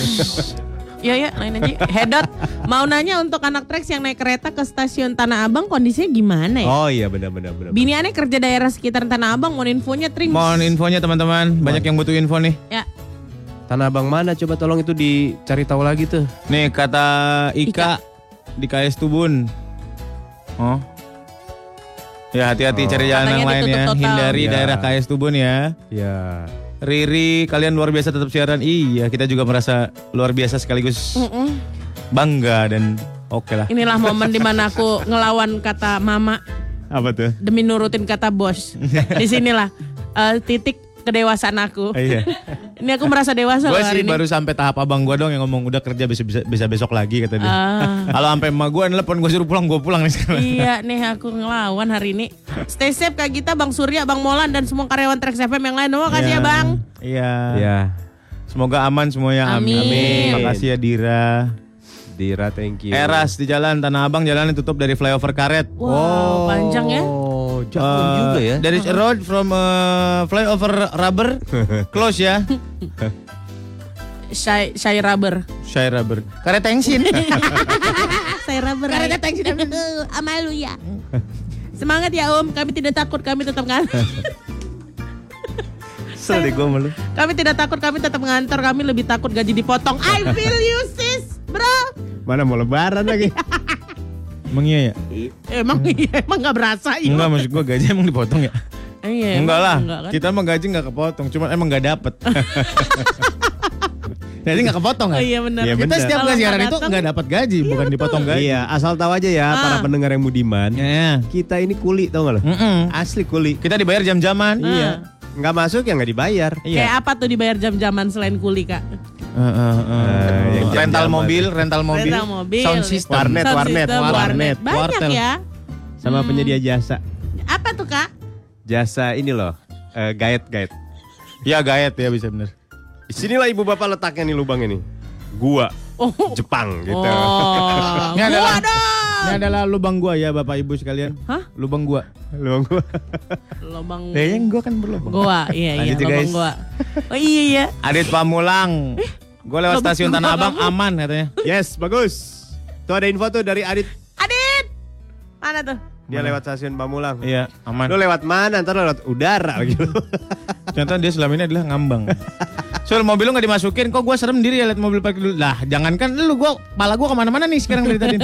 Speaker 3: Iya ya, lain aja. Hedot, mau nanya untuk anak Trax yang naik kereta ke stasiun Tanah Abang kondisinya gimana ya?
Speaker 2: Oh iya benar-benar benar.
Speaker 3: Bini aneh kerja daerah sekitar Tanah Abang, mohon infonya Trings.
Speaker 1: Mohon infonya teman-teman banyak yang butuh info nih.
Speaker 3: Ya,
Speaker 2: Tanah Abang mana coba tolong itu dicari tahu lagi tuh.
Speaker 1: Nih kata Ika, di KS Tubun. Oh. Ya hati-hati cari jalan
Speaker 3: Katanya
Speaker 1: yang lain
Speaker 3: ditutup
Speaker 1: ya.
Speaker 3: total.
Speaker 1: Hindari
Speaker 2: Ya.
Speaker 1: daerah KS Tubun ya.
Speaker 2: Ya.
Speaker 1: Riri, kalian luar biasa tetap siaran. Iya, kita juga merasa luar biasa sekaligus bangga dan oke lah.
Speaker 3: inilah momen dimana aku ngelawan kata mama
Speaker 1: Apa tuh?
Speaker 3: demi nurutin kata bos. Di sinilah eh, titik kedewasaan aku.
Speaker 1: Iya.
Speaker 3: Ini aku merasa dewasa
Speaker 1: gue
Speaker 3: loh hari
Speaker 1: sih
Speaker 3: ini.
Speaker 1: baru sampai tahap abang gue dong yang ngomong udah kerja bisa bisa, bisa besok lagi kata dia.
Speaker 3: Ah.
Speaker 1: Kalau sampai emak gue nelpon gue suruh pulang gue pulang nih sekarang.
Speaker 3: Iya nih aku ngelawan hari ini. Stay safe Kak Gita, Bang Surya, Bang Molan dan semua karyawan Trax FM yang lain. Terima kasih ya, Bang.
Speaker 1: Iya.
Speaker 2: Ya.
Speaker 1: Semoga aman semuanya. Amin.
Speaker 3: Amin.
Speaker 1: Terima kasih ya Dira.
Speaker 2: Dira thank you.
Speaker 1: Eras di jalan Tanah Abang jalan ditutup dari flyover karet.
Speaker 3: Wow, panjang ya.
Speaker 2: Oh, jauh
Speaker 1: Eh,
Speaker 2: juga ya.
Speaker 1: There is a road from eh, flyover rubber close ya.
Speaker 3: Shy, shy rubber.
Speaker 1: Syai rubber. Karet tengsin.
Speaker 3: Shy rubber.
Speaker 12: Karena datang sudah amaluya.
Speaker 3: Semangat ya Om, kami tidak takut, kami tetap ngalir.
Speaker 1: Kesel deh gue malu.
Speaker 3: Kami tidak takut, kami tetap ngantor. Kami lebih takut gaji dipotong. I feel you, sis, bro.
Speaker 2: Mana mau lebaran lagi?
Speaker 1: Emang iya ya?
Speaker 3: Emang iya, emang nggak berasa iya.
Speaker 1: Enggak maksud gue gaji emang dipotong ya?
Speaker 3: Iya, emang
Speaker 1: enggak lah.
Speaker 3: enggak kan?
Speaker 1: Kita emang gaji enggak kepotong, cuman emang enggak dapet. Jadi enggak kepotong kan?
Speaker 3: Oh, iya benar.
Speaker 1: Kita
Speaker 2: benar.
Speaker 1: setiap
Speaker 3: Kalau
Speaker 1: gaji
Speaker 3: nggak
Speaker 1: itu
Speaker 3: datang-
Speaker 1: enggak dapat gaji, bukan dipotong gaji.
Speaker 2: iya, asal tahu aja ya para
Speaker 3: Ah.
Speaker 2: pendengar yang budiman.
Speaker 1: Iya.
Speaker 2: Kita ini kuli tau gak lo?
Speaker 1: Mm-mm.
Speaker 2: Asli kuli.
Speaker 1: Kita dibayar jam-jaman.
Speaker 2: Iya. Nggak masuk ya nggak dibayar.
Speaker 1: iya.
Speaker 3: Kayak apa tuh dibayar jam-jaman selain kuli, Kak?
Speaker 1: Eh, eh, eh.
Speaker 2: Eh, yang
Speaker 1: rental
Speaker 2: jam-jaman.
Speaker 1: mobil, rental mobil,
Speaker 3: Rental mobil. gitu.
Speaker 1: sound system,
Speaker 2: Warnet,
Speaker 3: Sound
Speaker 2: warnet,
Speaker 3: system,
Speaker 1: warnet,
Speaker 3: Banyak
Speaker 1: wartel.
Speaker 3: ya.
Speaker 2: Sama penyedia jasa.
Speaker 3: Apa tuh, Kak?
Speaker 2: Jasa ini loh. eh, guide guide.
Speaker 1: ya gaet ya bisa bener.
Speaker 2: Sinilah ibu bapak letaknya nih lubang ini. Gua
Speaker 3: Oh.
Speaker 2: Jepang gitu.
Speaker 1: Ini
Speaker 3: Oh, gua
Speaker 1: adalah-
Speaker 3: dong.
Speaker 1: Ini adalah lubang gua ya Bapak Ibu sekalian.
Speaker 3: Hah?
Speaker 1: Lubang gua.
Speaker 2: Lubang gua.
Speaker 3: Lobang
Speaker 1: Kayaknya gua kan berlubang.
Speaker 3: gua, iya iya,
Speaker 1: Lanjut ya,
Speaker 3: lobang
Speaker 1: guys.
Speaker 3: gua. Oh iya iya.
Speaker 1: Adit Pamulang. Gua lewat
Speaker 3: lubang-
Speaker 1: stasiun Tanah
Speaker 3: lubang
Speaker 1: Abang
Speaker 3: kamu.
Speaker 1: aman katanya.
Speaker 2: Yes, bagus. Tuh ada info tuh dari Adit.
Speaker 3: Adit. Mana tuh?
Speaker 2: Dia lewat stasiun Pamulang.
Speaker 1: Iya, aman.
Speaker 2: Lu lewat mana? Ntar lu lewat udara gitu.
Speaker 1: Ternyata dia selama ini adalah ngambang. Soal mobil lu gak dimasukin, kok gue serem diri ya liat mobil parkir dulu. Lah, jangankan lu, gua, pala gue kemana-mana nih sekarang dari tadi.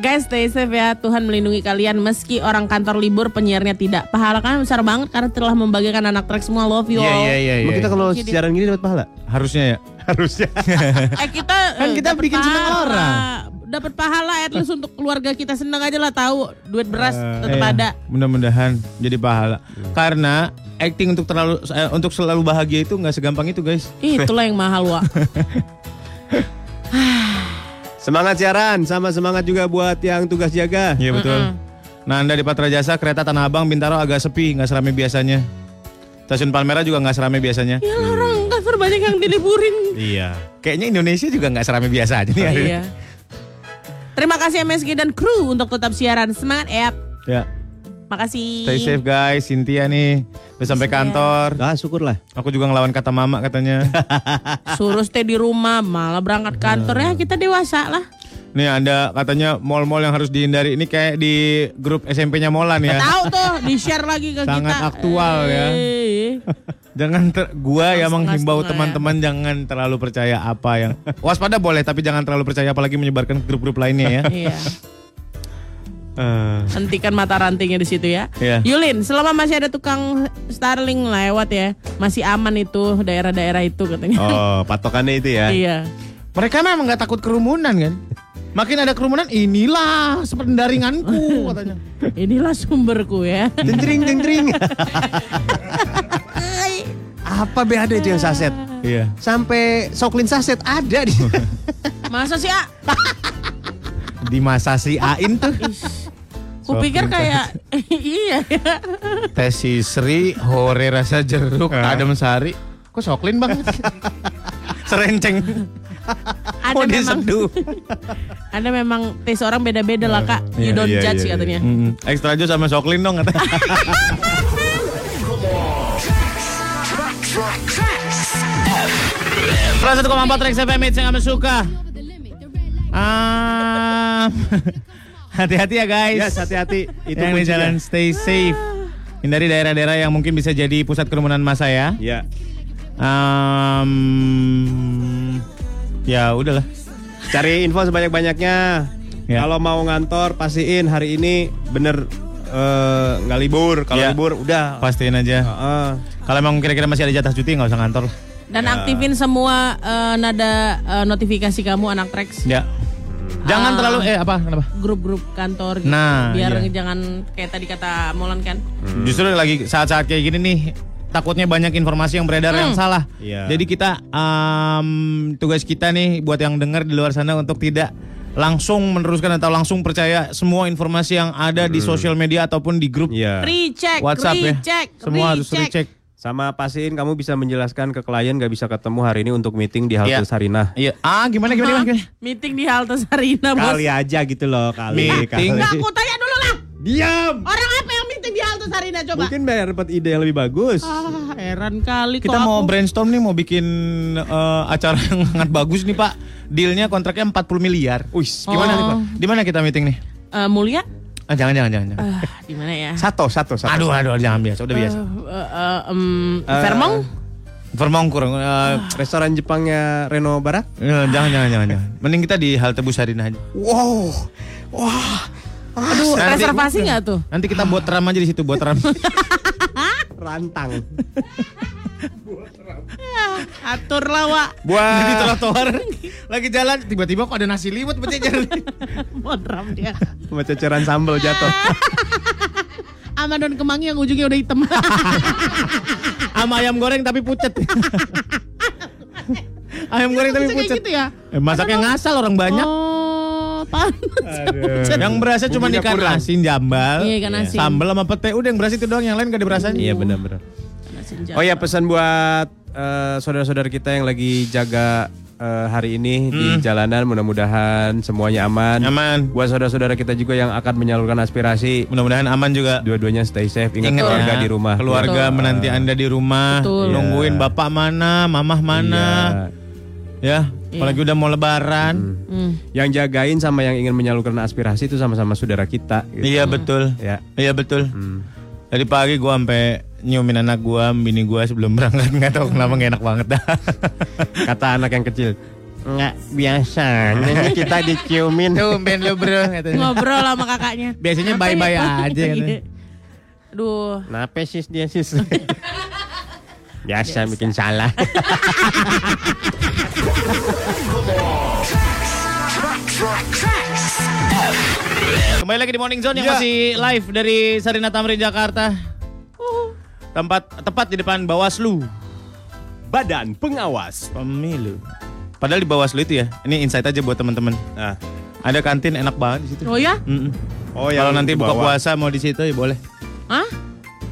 Speaker 3: Guys, stay safe ya. Tuhan melindungi kalian meski orang kantor libur penyiarnya tidak. Pahala kalian besar banget karena telah membagikan anak trek semua. Love you all.
Speaker 1: iya,
Speaker 2: Emang kita kalau siaran gini dapat pahala?
Speaker 1: Harusnya ya.
Speaker 2: Harusnya.
Speaker 3: Eh kita
Speaker 1: Kan
Speaker 3: eh,
Speaker 1: kita
Speaker 3: dapet
Speaker 1: bikin seneng
Speaker 3: pahala.
Speaker 1: orang.
Speaker 3: Dapat pahala at least untuk keluarga kita seneng aja lah tahu duit beras tetap
Speaker 1: Iya,
Speaker 3: ada.
Speaker 1: Mudah-mudahan jadi pahala.
Speaker 2: Hmm.
Speaker 1: Karena acting untuk terlalu eh, untuk selalu bahagia itu nggak segampang itu, guys.
Speaker 3: Ih, Itulah yang mahal, Wak.
Speaker 2: Semangat siaran, sama semangat juga buat yang tugas jaga.
Speaker 1: Iya betul. Nah, Anda di Patra Jasa kereta Tanah Abang Bintaro agak sepi, nggak serame biasanya. Stasiun Palmera juga nggak serame biasanya.
Speaker 3: ya lah, orang kantor banyak yang diliburin.
Speaker 2: Iya.
Speaker 1: Kayaknya Indonesia juga nggak serame biasa aja nih. hari ini.
Speaker 3: iya. Terima kasih MSG dan kru untuk tetap siaran. Semangat, Ep.
Speaker 1: Ya.
Speaker 3: Makasih.
Speaker 1: Stay safe guys, Cynthia nih udah sampai
Speaker 3: Iya.
Speaker 1: kantor.
Speaker 2: Ah, syukurlah.
Speaker 1: Aku juga ngelawan kata mama katanya.
Speaker 3: Suruh stay di rumah, malah berangkat kantor ya kita dewasa lah.
Speaker 1: Nih Anda katanya mall-mall yang harus dihindari ini kayak di grup SMP-nya Molan ya.
Speaker 3: Tahu tuh, di share lagi ke kita.
Speaker 1: Sangat aktual ya.
Speaker 3: Eh,
Speaker 1: Jangan ter, gua ya
Speaker 3: Setengah-setengah
Speaker 1: menghimbau
Speaker 3: ya.
Speaker 1: teman-teman jangan terlalu percaya apa yang waspada boleh tapi jangan terlalu percaya apalagi menyebarkan ke grup-grup lainnya ya. Eh,
Speaker 3: Iya. Hentikan mata rantingnya di situ ya.
Speaker 1: Iya.
Speaker 3: Yulin, selama masih ada tukang Starling lewat ya, masih aman itu daerah-daerah itu katanya.
Speaker 2: Oh, patokannya itu ya.
Speaker 3: Iya.
Speaker 1: Mereka memang nggak takut kerumunan kan. Makin ada kerumunan inilah pendaringanku katanya.
Speaker 3: Inilah sumberku ya.
Speaker 2: Dendring, dendring. Apa be ada itu yang saset?
Speaker 1: Iya.
Speaker 2: Sampai soklin saset ada di.
Speaker 3: Masa sih, ah?
Speaker 1: Di masa si Ain tuh.
Speaker 3: Kupikir kayak iya ya.
Speaker 1: Teh Sri, hore rasa jeruk, adem sari. Kok soklin bang? Serenceng.
Speaker 3: Ada
Speaker 1: Kok
Speaker 3: memang
Speaker 1: diseduh?
Speaker 3: Ada memang taste orang beda-beda lah kak.
Speaker 2: Iya,
Speaker 3: You don't
Speaker 2: iya,
Speaker 3: judge
Speaker 2: iya,
Speaker 3: katanya.
Speaker 1: Mm, Extra jus sama soklin dong kata. Pro 1,4 Trax FM hits yang kami suka. Ah, hati-hati ya guys.
Speaker 2: Yes, hati-hati. Itu
Speaker 1: Itu yang di
Speaker 2: kuncinya.
Speaker 1: jalan stay safe. Hindari daerah-daerah yang mungkin bisa jadi pusat kerumunan massa ya.
Speaker 2: Ya.
Speaker 1: Um, ya udahlah.
Speaker 2: Cari info sebanyak-banyaknya.
Speaker 1: Ya.
Speaker 2: Kalau mau ngantor pastiin hari ini bener eh, nggak libur. Kalau
Speaker 1: Ya.
Speaker 2: libur udah.
Speaker 1: Pastiin aja.
Speaker 2: Heeh.
Speaker 1: Kalau emang kira-kira masih ada jatah cuti nggak usah ngantor.
Speaker 3: Dan
Speaker 1: Ya.
Speaker 3: aktifin semua eh, nada eh, notifikasi kamu anak tracks
Speaker 1: Ya. Jangan terlalu eh apa kenapa?
Speaker 3: grup-grup kantor gitu.
Speaker 1: Nah,
Speaker 3: biar
Speaker 1: iya.
Speaker 3: jangan kayak tadi kata Molan kan.
Speaker 2: Hmm.
Speaker 1: Justru lagi saat-saat kayak gini nih takutnya banyak informasi yang beredar yang salah.
Speaker 2: Iya.
Speaker 1: Jadi kita em, tugas kita nih buat yang dengar di luar sana untuk tidak langsung meneruskan atau langsung percaya semua informasi yang ada di sosial media ataupun di grup
Speaker 2: Hmm. Iya.
Speaker 3: Recheck,
Speaker 1: Kan. WhatsApp
Speaker 3: recheck,
Speaker 1: ya. Semua harus recheck.
Speaker 2: Sama pastiin kamu bisa menjelaskan ke klien gak bisa ketemu hari ini untuk meeting di halte
Speaker 1: Iya.
Speaker 2: Sarinah.
Speaker 1: Iya. Ah, gimana gimana gimana?
Speaker 3: Meeting di halte Sarina bos.
Speaker 2: Kali aja gitu loh kali.
Speaker 1: Meeting.
Speaker 2: kali.
Speaker 3: Nggak, aku tanya dulu lah.
Speaker 2: Diam.
Speaker 3: Orang apa yang meeting di halte Sarina coba?
Speaker 2: Mungkin biar dapat ide yang lebih bagus.
Speaker 3: Ah, heran kali
Speaker 1: Kita
Speaker 3: kok
Speaker 1: mau
Speaker 3: aku.
Speaker 1: brainstorm nih mau bikin eh, acara yang sangat bagus nih, Pak. Dealnya kontraknya 40 miliar.
Speaker 2: Wih,
Speaker 1: Gimana nih, Pak? Di mana kita meeting nih?
Speaker 3: Eh, mulia
Speaker 1: Eh, Ah, jangan, jangan, jangan. jangan.
Speaker 3: Ah, di mana ya?
Speaker 2: Satu, satu, satu.
Speaker 1: aduh, aduh, jangan biasa. Udah biasa.
Speaker 3: Eh, eh, eh, em, Vermont?
Speaker 1: Vermont kurang. eh,
Speaker 2: Restoran Jepangnya Reno Barat.
Speaker 1: eh, jangan, jangan, jangan, jangan. Mending kita di halte Busarin aja.
Speaker 2: Wow. Wah.
Speaker 3: Aduh,
Speaker 1: Nanti-
Speaker 3: reservasi nggak tuh?
Speaker 1: Nanti kita buat ram aja di situ, buat ram.
Speaker 2: Rantang.
Speaker 3: Aturlah, Wak.
Speaker 1: Jadi trotoar lagi jalan tiba-tiba kok ada nasi liwet bercecer.
Speaker 3: Bodram dia.
Speaker 2: Sama ceceran sambal jatuh.
Speaker 3: Sama daun kemangi yang ujungnya udah hitam.
Speaker 1: Sama ayam goreng tapi pucet. ayam goreng tapi
Speaker 3: Bisa kayak
Speaker 1: pucet.
Speaker 3: gitu ya?
Speaker 1: Eh, masaknya ngasal orang banyak.
Speaker 3: Oh, panas. Pucet.
Speaker 1: Yang berasa cuma
Speaker 2: Bumbunya
Speaker 1: ikan
Speaker 2: kurang.
Speaker 1: asin jambal,
Speaker 3: Iya, ikan asin.
Speaker 1: sambal sama pete. Udah yang berasa itu doang, yang lain gak ada berasanya.
Speaker 2: Iya benar-benar. Oh ya pesan buat eh, saudara-saudara kita yang lagi jaga eh, hari ini di jalanan mudah-mudahan semuanya aman.
Speaker 1: Aman.
Speaker 2: Buat saudara-saudara kita juga yang akan menyalurkan aspirasi,
Speaker 1: Mudah-mudahan aman juga.
Speaker 2: dua-duanya stay safe, ingat
Speaker 1: Ingat
Speaker 2: keluarga
Speaker 1: ya,
Speaker 2: di rumah.
Speaker 1: Keluarga menanti Anda di rumah,
Speaker 3: Betul.
Speaker 1: nungguin
Speaker 2: Iya.
Speaker 1: bapak mana, mamah mana. Ya,
Speaker 3: Iya.
Speaker 1: apalagi udah mau lebaran.
Speaker 3: Hmm.
Speaker 2: Yang jagain sama yang ingin menyalurkan aspirasi itu sama-sama saudara kita. gitu.
Speaker 1: Iya betul.
Speaker 2: Ya.
Speaker 1: Iya betul.
Speaker 2: Hmm.
Speaker 1: Dari pagi gua sampai nyiumin anak gua, bini gua sebelum berangkat nggak tahu kenapa nggak enak banget dah.
Speaker 2: Kata anak yang kecil. Nggak biasanya nih kita diciumin.
Speaker 1: ben lu bro gitu. katanya.
Speaker 3: Ngobrol sama kakaknya.
Speaker 1: Biasanya
Speaker 3: Apa
Speaker 1: bye-bye
Speaker 3: nih?
Speaker 1: aja katanya.
Speaker 3: Aduh.
Speaker 2: Kenapa sis dia sis? Biasa bikin salah.
Speaker 1: Kembali lagi di Morning Zone yang masih live dari Sarina Tamrin Jakarta. Tempat tepat di depan Bawaslu
Speaker 2: Badan pengawas.
Speaker 1: Pemilu. Padahal di Bawaslu itu ya. Ini insight aja buat teman-teman.
Speaker 2: Nah.
Speaker 1: Ada kantin enak banget di situ.
Speaker 3: Oh ya?
Speaker 1: Mm-mm.
Speaker 2: Oh
Speaker 1: Kalau nanti buka
Speaker 2: puasa
Speaker 1: puasa mau di situ ya boleh.
Speaker 3: Hah?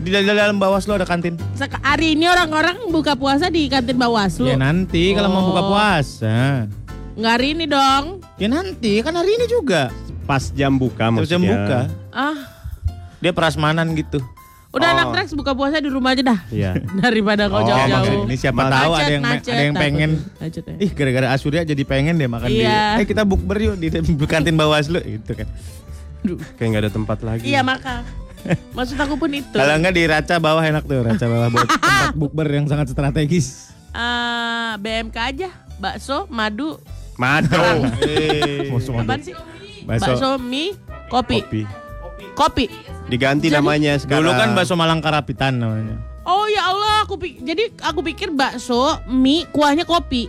Speaker 1: Di dal- dalam Bawaslu ada kantin.
Speaker 3: Sek- Hari ini orang-orang buka puasa di kantin Bawaslu.
Speaker 1: Ya nanti kalau mau buka
Speaker 3: Oh.
Speaker 1: puasa.
Speaker 3: Nggak hari ini dong.
Speaker 1: Ya nanti kan hari ini juga.
Speaker 2: pas jam buka
Speaker 1: Terus jam
Speaker 2: maksudnya.
Speaker 1: buka.
Speaker 3: Ah,
Speaker 1: Dia perasmanan gitu.
Speaker 3: udah anak Rex buka puasa di rumah aja dah.
Speaker 2: Iya.
Speaker 3: Daripada
Speaker 2: Oh,
Speaker 3: kau jauh-jauh.
Speaker 1: Ini siapa
Speaker 2: Macet,
Speaker 1: tahu ada yang
Speaker 3: macet,
Speaker 1: ada yang
Speaker 3: takut.
Speaker 1: pengen.
Speaker 3: Macet ya.
Speaker 1: Ih gara-gara Asuria jadi pengen deh makan di.
Speaker 3: Iya.
Speaker 1: Eh kita bukber yuk di di kantin Bawaslu gitu kan.
Speaker 2: Kayak nggak ada tempat lagi.
Speaker 3: Iya maka. Maksud aku pun itu.
Speaker 1: Kalau enggak di Raca bawah enak tuh, Raca bawah buat tempat bukber yang sangat strategis.
Speaker 3: Ah, BMK aja. Bakso, madu,
Speaker 2: Madu. Eh.
Speaker 3: apaan sih?
Speaker 1: Bakso.
Speaker 3: Bakso, mie, kopi.
Speaker 2: Kopi.
Speaker 3: Kopi.
Speaker 2: Diganti namanya sekarang.
Speaker 1: Dulu kan bakso Malangkarapitan namanya.
Speaker 3: Oh ya Allah, aku pi- jadi aku pikir bakso, mie, kuahnya kopi.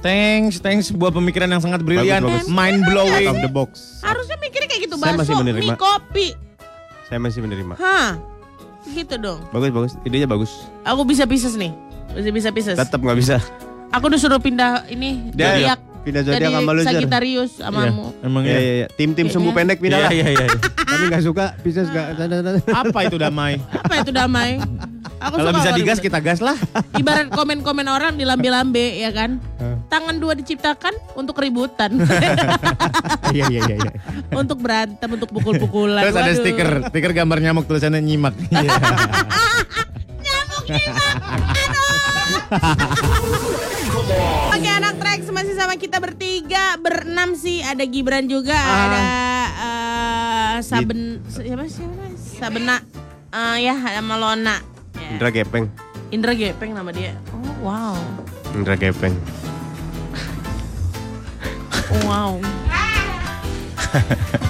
Speaker 1: Thanks, thanks buat pemikiran yang sangat brilian, Iya.
Speaker 2: Bagus, bagus.
Speaker 1: mind
Speaker 2: out
Speaker 1: blowing.
Speaker 2: of the box.
Speaker 3: Harusnya mikirnya kayak gitu
Speaker 2: Saya masih
Speaker 3: bakso,
Speaker 2: menerima.
Speaker 3: mie, kopi.
Speaker 2: Saya masih menerima.
Speaker 3: Hah. Gitu dong.
Speaker 2: Bagus bagus. Idenya bagus.
Speaker 3: Aku bisa pisces nih. Bisa bisa pisces.
Speaker 2: Tetap nggak bisa.
Speaker 3: Aku disuruh pindah ini
Speaker 2: Dia
Speaker 3: zodiak.
Speaker 1: ya,
Speaker 2: pindah zodiak
Speaker 3: Jadi
Speaker 2: sama lu, Zer.
Speaker 3: Sagittarius sama
Speaker 1: Iya,
Speaker 3: mu.
Speaker 1: Emang
Speaker 2: Iya iya iya. Tim-tim sumbu pendek pindah lah.
Speaker 1: Iya, iya, iya.
Speaker 2: Kami nggak suka Pisces nggak.
Speaker 1: Apa itu damai?
Speaker 3: Apa itu damai? Aku
Speaker 1: Kalau
Speaker 3: suka
Speaker 1: bisa
Speaker 3: kalau
Speaker 1: digas
Speaker 3: gitu.
Speaker 1: kita gas lah.
Speaker 3: Ibarat komen-komen orang di lambe-lambe ya kan. Tangan dua diciptakan untuk keributan.
Speaker 1: Iya iya iya. iya.
Speaker 3: untuk berantem, untuk pukul-pukulan.
Speaker 1: Terus ada
Speaker 3: Waduh.
Speaker 1: stiker, stiker gambar nyamuk tulisannya nyimak. Iya.
Speaker 3: Oke anak track masih sama kita bertiga, berenam sih. Ada Gibran juga,
Speaker 1: Ah.
Speaker 3: ada eh, Saben siapa siapa? Sabena eh, ya sama Lona. Ya.
Speaker 2: Indra Gepeng.
Speaker 3: Indra Gepeng nama dia. Oh, wow.
Speaker 2: Indra Gepeng.
Speaker 3: Oh, wow.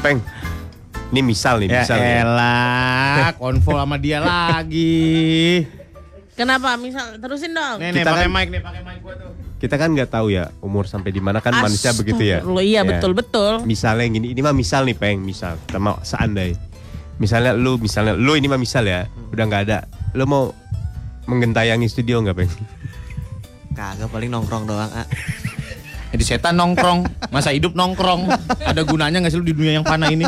Speaker 2: Peng. Ini misal nih,
Speaker 1: Ya
Speaker 2: misal. nih.
Speaker 1: elah, konvo sama dia lagi.
Speaker 3: Kenapa? Misal terusin dong.
Speaker 1: Nih nih
Speaker 2: Kita
Speaker 1: pakai
Speaker 2: kan-
Speaker 1: mic nih, pakai mic gua tuh.
Speaker 2: Kita kan nggak tahu ya umur sampai di mana kan manusia begitu ya.
Speaker 3: Astagfirullah,
Speaker 2: Ya.
Speaker 3: Iya, betul-betul.
Speaker 2: misalnya yang gini ini mah misal nih peng misal kita mau seandai misalnya lu misalnya lu ini mah misal ya udah nggak ada lu mau menggentayangi studio nggak peng
Speaker 13: Kagak paling nongkrong doang, ah.
Speaker 1: Jadi setan nongkrong, masa hidup nongkrong. Ada gunanya nggak sih lu di dunia yang panah ini?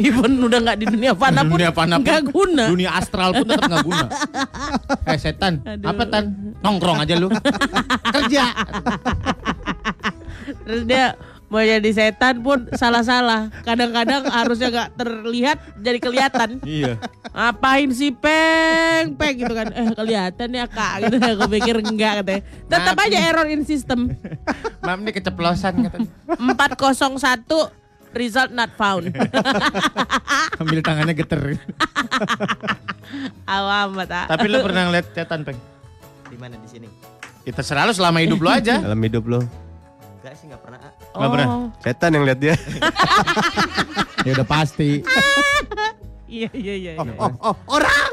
Speaker 3: Even udah nggak di dunia fana pun
Speaker 1: dunia panah pun,
Speaker 3: nggak guna.
Speaker 1: Dunia astral pun tetap nggak guna. eh setan, apa tan? Nongkrong aja lu. Kerja.
Speaker 3: Terus dia mau jadi setan pun salah-salah. Kadang-kadang harusnya nggak terlihat jadi kelihatan.
Speaker 1: Iya.
Speaker 3: Ngapain sih peng peng gitu kan eh kelihatan ya kak gitu aku pikir enggak katanya tetap aja error in system
Speaker 1: Mam ini keceplosan katanya.
Speaker 3: 401 Result not found.
Speaker 1: Ambil tangannya geter.
Speaker 3: Awam mata.
Speaker 1: Tapi lu pernah ngeliat setan, Peng?
Speaker 13: Di mana di sini?
Speaker 1: Kita selalu selama hidup lu aja.
Speaker 2: Dalam hidup lo.
Speaker 13: Enggak sih enggak pernah. ah.
Speaker 1: Nggak pernah.
Speaker 3: Oh.
Speaker 2: Setan yang lihat dia.
Speaker 8: Ya udah pasti.
Speaker 3: Iya iya iya. iya.
Speaker 2: Oh, oh, orang.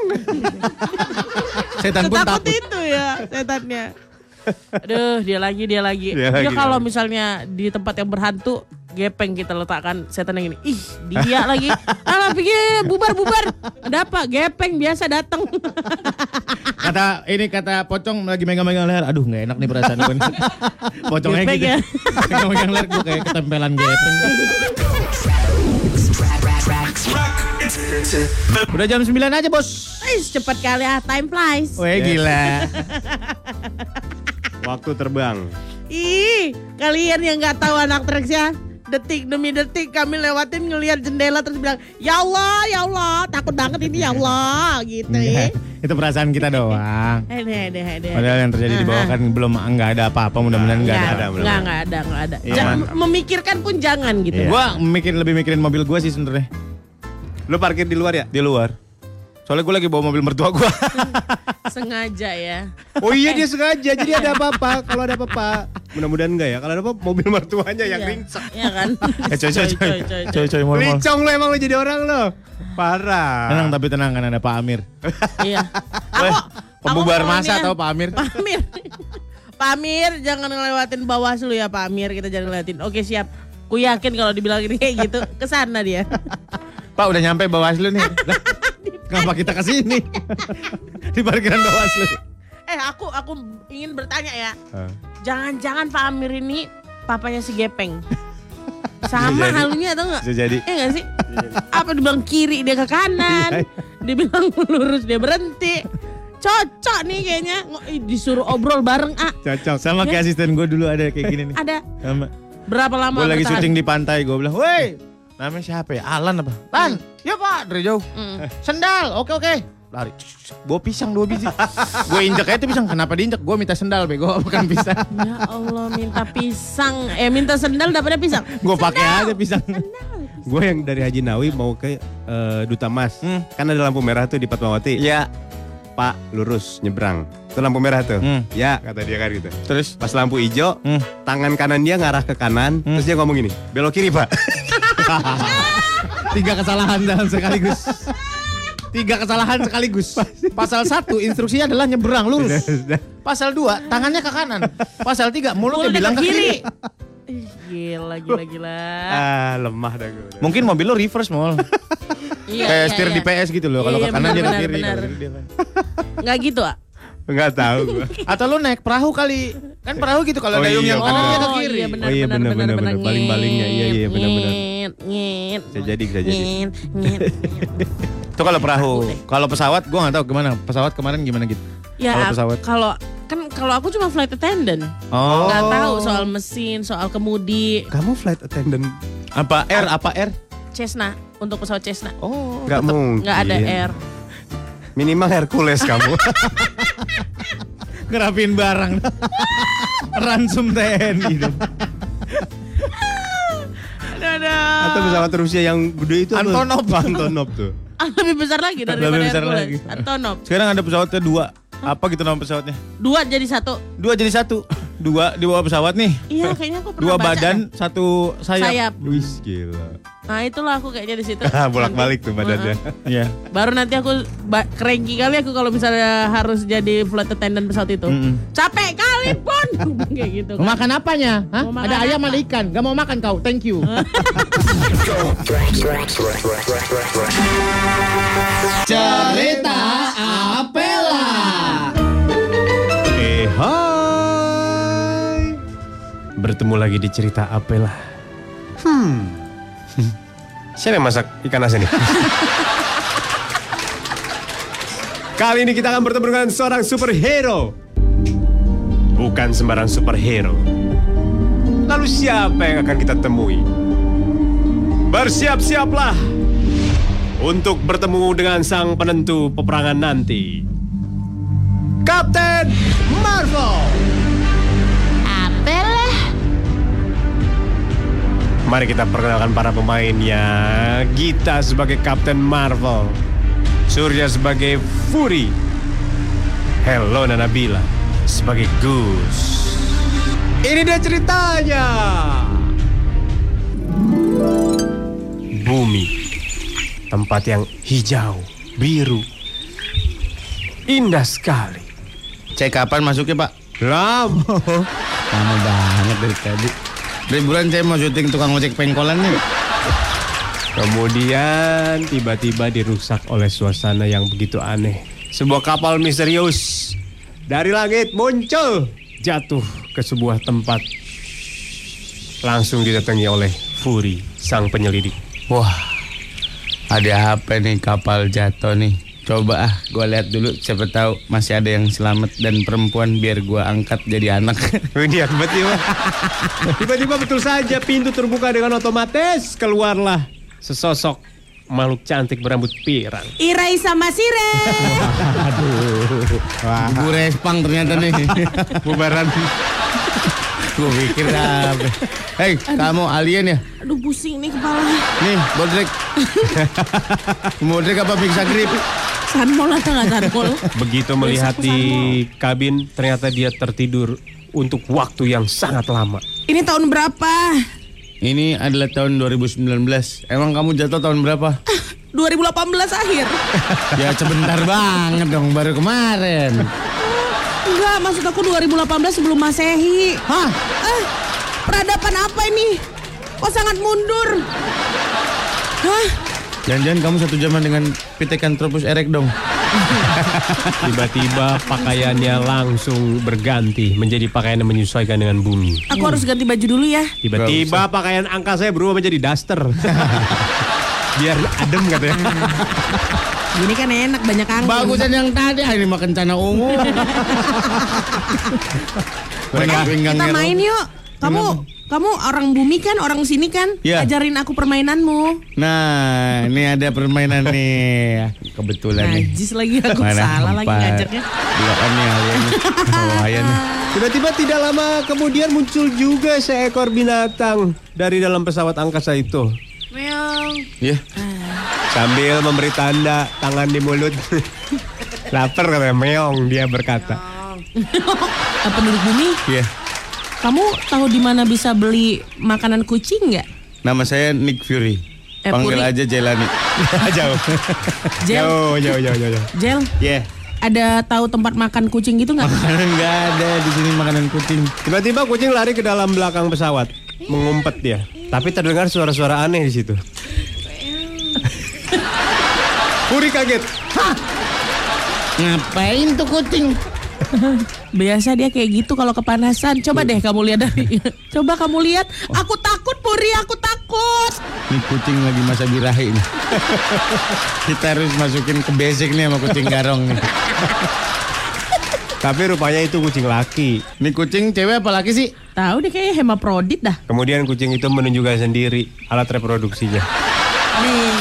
Speaker 1: Setan pun
Speaker 3: Setakut
Speaker 1: takut.
Speaker 3: itu ya setannya. Aduh, dia lagi, dia lagi.
Speaker 1: Dia
Speaker 3: Dia,
Speaker 1: lagi,
Speaker 3: kalau
Speaker 1: lagi.
Speaker 3: misalnya di tempat yang berhantu, gepeng kita letakkan setan yang ini. Ih, dia lagi. Alah, pikir bubar, bubar. Ada apa? Gepeng biasa datang.
Speaker 1: Kata ini kata pocong lagi megang-megang leher. Aduh nggak enak nih perasaan gue. nih. Pocongnya
Speaker 3: Gepeng
Speaker 1: gitu.
Speaker 3: ya.
Speaker 1: Megang-megang leher gue kayak ketempelan gitu. gepeng. Udah jam 9 aja bos.
Speaker 3: Ih, cepat kali ah, time flies.
Speaker 1: Weh gila.
Speaker 2: Waktu terbang.
Speaker 3: Ih, kalian yang nggak tahu anak treks ya. Detik demi detik kami lewatin ngelihat jendela terus bilang, "Ya Allah, ya Allah, takut banget ini ya Allah." gitu.
Speaker 1: Enggak,
Speaker 3: ya.
Speaker 1: Iya. itu perasaan kita doang.
Speaker 3: Eh, deh, deh, deh.
Speaker 1: Padahal yang terjadi di
Speaker 3: Ah,
Speaker 1: bawah kan belum nggak ada apa-apa mudah-mudahan nggak
Speaker 3: Nggak,
Speaker 1: ada.
Speaker 2: ada,
Speaker 3: Iya, nggak, nggak ada, nggak ada.
Speaker 2: Iya,
Speaker 3: Jangan-
Speaker 2: aman.
Speaker 3: memikirkan pun jangan gitu.
Speaker 2: Iya.
Speaker 1: Gua mikir lebih mikirin mobil gua sih sebenarnya
Speaker 2: Lu parkir di luar ya?
Speaker 1: di luar. Soalnya gua lagi bawa mobil mertua gua.
Speaker 3: Sengaja ya.
Speaker 2: Oh iya dia sengaja. Jadi ada apa-apa. Kalau ada apa-apa. Mudah-mudahan enggak ya. Kalau ada apa mobil mertuanya yang
Speaker 3: Iya.
Speaker 2: ringsek.
Speaker 3: Iya kan?
Speaker 1: eh coy coy coy
Speaker 3: coy, coy.
Speaker 1: coy coy mall mall.
Speaker 2: Licong lu emang lu jadi orang lo.
Speaker 1: Tenang
Speaker 2: Parah.
Speaker 1: tapi tenang kan ada Pak Amir.
Speaker 3: Iya.
Speaker 1: Weh,
Speaker 3: Aku
Speaker 1: Pembubar
Speaker 3: aku
Speaker 1: masa
Speaker 3: maunya-
Speaker 1: tau Pak Amir.
Speaker 3: Pak Amir. Pak Amir jangan ngelewatin bawah dulu ya Pak Amir, kita jangan ngelewatin. Oke, siap. Ku yakin kalau dibilang gini kayak gitu, kesana dia.
Speaker 1: Pak udah nyampe Bawaslu nih. Lah, Kenapa kita ke sini? di parkiran Bawaslu.
Speaker 3: Eh, aku aku ingin bertanya ya.
Speaker 1: Eh.
Speaker 3: Jangan-jangan Pak Amir ini papanya si Gepeng. Sama
Speaker 1: Bisa jadi.
Speaker 3: halunya atau enggak?
Speaker 1: Bisa jadi.
Speaker 3: Iya gak sih? Apa dibilang kiri dia ke
Speaker 1: Iya,
Speaker 3: kanan, dibilang lurus dia berhenti. Cocok nih kayaknya Ngo- ih, disuruh obrol bareng ah.
Speaker 1: Cocok. Sama kayak asisten gua dulu ada kayak gini nih.
Speaker 3: Ada
Speaker 1: Sama.
Speaker 3: berapa lama
Speaker 1: Gue lagi
Speaker 3: bertahan?
Speaker 1: syuting di pantai, gue bilang, woi namanya siapa ya? Alan apa? Lan, ya pak, dari jauh. Eh, Sendal, oke oke. Lari. Gue pisang dua biji. gue injek aja tuh pisang. Kenapa diinjek? Gue minta sendal, bego. Bukan pisang.
Speaker 3: Ya Allah minta pisang, eh minta sendal dapetnya pisang.
Speaker 1: Gue pakai aja pisang.
Speaker 2: Gue yang dari Haji Nawi mau ke eh, Duta Mas.
Speaker 1: Hmm.
Speaker 2: Kan ada lampu merah tuh di Fatmawati.
Speaker 13: Ya,
Speaker 1: Iya.
Speaker 2: Pak lurus nyebrang. Itu lampu merah tuh.
Speaker 1: Hmm.
Speaker 2: Ya kata dia kan gitu.
Speaker 1: Terus,
Speaker 2: Pas lampu hijau,
Speaker 1: Hmm.
Speaker 2: tangan kanan dia ngarah ke kanan, terus dia ngomong gini, belok kiri pak.
Speaker 1: tiga kesalahan dalam sekaligus. Tiga kesalahan sekaligus. Pasal satu instruksinya adalah nyebrang lurus. Pasal dua tangannya ke kanan. Pasal tiga mulutnya
Speaker 3: Mulutnya
Speaker 1: bilang kan?
Speaker 3: ke
Speaker 1: ke
Speaker 3: kiri.
Speaker 1: kiri.
Speaker 3: Ih, Gila, gila, gila.
Speaker 2: ah lemah dah gue.
Speaker 1: Mungkin mobil lo reverse mall.
Speaker 3: Iya,
Speaker 1: Kayak
Speaker 3: iya,
Speaker 1: setir
Speaker 3: iya.
Speaker 1: di PS gitu loh. Kalau
Speaker 3: Iya,
Speaker 1: ke kanan dia ke
Speaker 3: benar, benar,
Speaker 1: kiri. kalau
Speaker 3: benar.
Speaker 1: kiri dia ke-
Speaker 3: Nggak gitu ah?
Speaker 2: Enggak tahu gue.
Speaker 1: Atau lu naik perahu kali. Kan perahu gitu kalau
Speaker 2: Oh
Speaker 1: dayung
Speaker 2: iya,
Speaker 1: yang kanan dia ke kiri.
Speaker 3: Iya, benar,
Speaker 2: Oh iya,
Speaker 3: benar,
Speaker 2: benar,
Speaker 3: benar,
Speaker 2: benar,
Speaker 3: benar.
Speaker 2: benar. Baling-balingnya, iya, iya, benar, benar.
Speaker 3: Nyet, nyet.
Speaker 2: Bisa jadi, bisa jadi.
Speaker 3: Nyet, nyet, nyet.
Speaker 1: Itu kalau perahu. Kalau pesawat gua nggak tahu gimana. Pesawat kemarin gimana gitu.
Speaker 3: Ya,
Speaker 1: Kalau pesawat.
Speaker 3: kalau kan kalau aku cuma flight attendant.
Speaker 1: Oh.
Speaker 3: Nggak tahu soal mesin, soal kemudi.
Speaker 2: Kamu flight attendant?
Speaker 1: Apa R apa R?
Speaker 3: Cessna, untuk pesawat Cessna.
Speaker 1: Oh.
Speaker 2: Enggak mungkin.
Speaker 3: Nggak ada air.
Speaker 2: Minimal Hercules kamu.
Speaker 1: Ngerapiin barang. Ransum TNI dong.
Speaker 3: Aduh, aduh.
Speaker 2: Atau pesawat Rusia yang gede itu apa?
Speaker 1: Antonov.
Speaker 2: Antonov tuh.
Speaker 3: Ah, lebih besar lagi daripada
Speaker 1: Lebih besar
Speaker 3: Hercules.
Speaker 1: lagi.
Speaker 3: Antonov.
Speaker 1: Sekarang ada pesawatnya dua. Apa gitu nama pesawatnya?
Speaker 3: Dua jadi satu.
Speaker 1: Dua jadi satu. Dua di bawah pesawat nih.
Speaker 3: Iya, kayaknya aku pernah
Speaker 1: Dua
Speaker 3: baca
Speaker 1: badan, satu
Speaker 3: dah.
Speaker 1: sayap.
Speaker 3: sayap.
Speaker 2: Wih gila.
Speaker 3: Nah, itulah aku kayaknya di situ.
Speaker 2: Bolak-balik tuh badannya.
Speaker 1: Iya.
Speaker 3: Baru nanti aku ba- cranky kali aku kalau misalnya harus jadi flight attendant pesawat itu.
Speaker 1: Mm-mm. Eh.
Speaker 3: Capek kali pun kayak gitu.
Speaker 8: Mau makan apanya? Hah?
Speaker 3: Mau makan
Speaker 8: Ada ayam
Speaker 3: apa?
Speaker 8: ada ikan. Gak mau makan kau. Thank you. Cerita Apela.
Speaker 2: Eh hai. Bertemu lagi di cerita Apela. Hmm. Siapa yang masak ikan asin ini? Kali ini kita akan bertemu dengan seorang superhero. Bukan sembarang superhero. Lalu siapa yang akan kita temui? Bersiap-siaplah untuk bertemu dengan sang penentu peperangan nanti. Kapten Marvel.
Speaker 12: Apel?
Speaker 2: Marvel Mari kita perkenalkan para pemainnya. Gita sebagai Captain Marvel. Surya sebagai Fury. Hello Nanabila sebagai Goose. Ini dia ceritanya. Bumi. Tempat yang hijau, biru. Indah sekali.
Speaker 14: Cek kapan masuknya, Pak?
Speaker 2: Lama.
Speaker 14: Lama banget dari tadi. Dari bulan saya mau syuting tukang ojek pengkolan nih.
Speaker 2: Kemudian tiba-tiba dirusak oleh suasana yang begitu aneh. Sebuah kapal misterius dari langit muncul, jatuh ke sebuah tempat. Langsung didatangi oleh Fury, sang penyelidik.
Speaker 1: Wah, ada apa nih kapal jatuh nih? Coba ah, gue lihat dulu. Siapa tahu masih ada yang selamat dan perempuan biar gue angkat jadi anak.
Speaker 2: Ini akibat Tiba-tiba betul saja pintu terbuka dengan otomatis keluarlah sesosok makhluk cantik berambut pirang.
Speaker 15: Irai sama Sire.
Speaker 1: Aduh. Wah. Bu Respang ternyata nih.
Speaker 2: Bubaran.
Speaker 1: Gue pikir apa. Hei, kamu alien ya?
Speaker 3: Aduh pusing nih kepalanya.
Speaker 1: Nih, bodrek. bodrek apa pingsan grip?
Speaker 3: Sanmol atau nggak sanmol?
Speaker 2: Begitu melihat di kabin, ternyata dia tertidur untuk waktu yang sangat lama.
Speaker 3: Ini tahun berapa?
Speaker 1: Ini adalah tahun 2019. Emang kamu jatuh tahun berapa?
Speaker 3: 2018 akhir.
Speaker 1: ya sebentar banget dong, baru kemarin.
Speaker 3: Enggak, maksud aku 2018 sebelum Masehi.
Speaker 1: Hah?
Speaker 3: Eh, peradaban apa ini? Kok sangat mundur? Hah?
Speaker 1: Jangan-jangan kamu satu zaman dengan Pithecanthropus erect dong.
Speaker 2: Tiba-tiba pakaiannya langsung berganti menjadi pakaian yang menyesuaikan dengan bumi.
Speaker 3: Aku
Speaker 1: Hmm.
Speaker 3: harus ganti baju dulu ya.
Speaker 2: Tiba-tiba pakaian angka saya berubah menjadi daster. Biar adem katanya.
Speaker 3: Ini kan enak banyak angin.
Speaker 1: Bagusan yang tadi ah, hari makan cana ungu. Nah,
Speaker 3: Eh,
Speaker 1: gitu.
Speaker 3: kita main yuk. Kamu kamu orang bumi kan, orang sini kan?
Speaker 1: Iya.
Speaker 3: Ajarin aku permainanmu.
Speaker 1: Nah, ini ada permainan nih. Kebetulan nih.
Speaker 3: Najis lagi aku salah lagi
Speaker 1: empat?
Speaker 3: ngajaknya.
Speaker 1: Dua on nih, alien nih. Lumayan nih.
Speaker 2: Tiba-tiba tidak lama kemudian muncul juga seekor binatang dari dalam pesawat angkasa itu.
Speaker 4: Meong.
Speaker 1: Iya.
Speaker 2: Sambil memberi tanda tangan di mulut. Laper katanya meong dia berkata.
Speaker 3: Eh, Penduduk bumi,
Speaker 1: Iya.
Speaker 3: kamu tahu di mana bisa beli makanan kucing nggak?
Speaker 1: Nama saya Nick Fury.
Speaker 3: Eh,
Speaker 1: Panggil
Speaker 3: Puri.
Speaker 1: aja Jelani. jauh.
Speaker 3: Jel.
Speaker 2: Jauh, jauh, jauh, jauh. jauh.
Speaker 3: Jel,
Speaker 1: Yeah.
Speaker 3: ada tahu tempat makan kucing gitu nggak?
Speaker 1: Enggak ada di sini makanan kucing.
Speaker 2: Tiba-tiba kucing lari ke dalam belakang pesawat, mengumpet dia. Tapi terdengar suara-suara aneh di situ. Puri kaget.
Speaker 16: Ngapain tuh kucing?
Speaker 3: Biasa dia kayak gitu kalau kepanasan. Coba deh kamu lihat dari. Coba kamu lihat. Aku takut Puri, aku takut.
Speaker 1: Ini kucing lagi masa birahi nih. Kita harus masukin ke basic nih sama kucing garong nih.
Speaker 2: Tapi rupanya itu kucing laki.
Speaker 1: Ini kucing cewek apa laki sih?
Speaker 3: Tahu deh kayaknya hemaprodit dah.
Speaker 2: Kemudian kucing itu menunjukkan sendiri alat reproduksinya.
Speaker 3: Nih.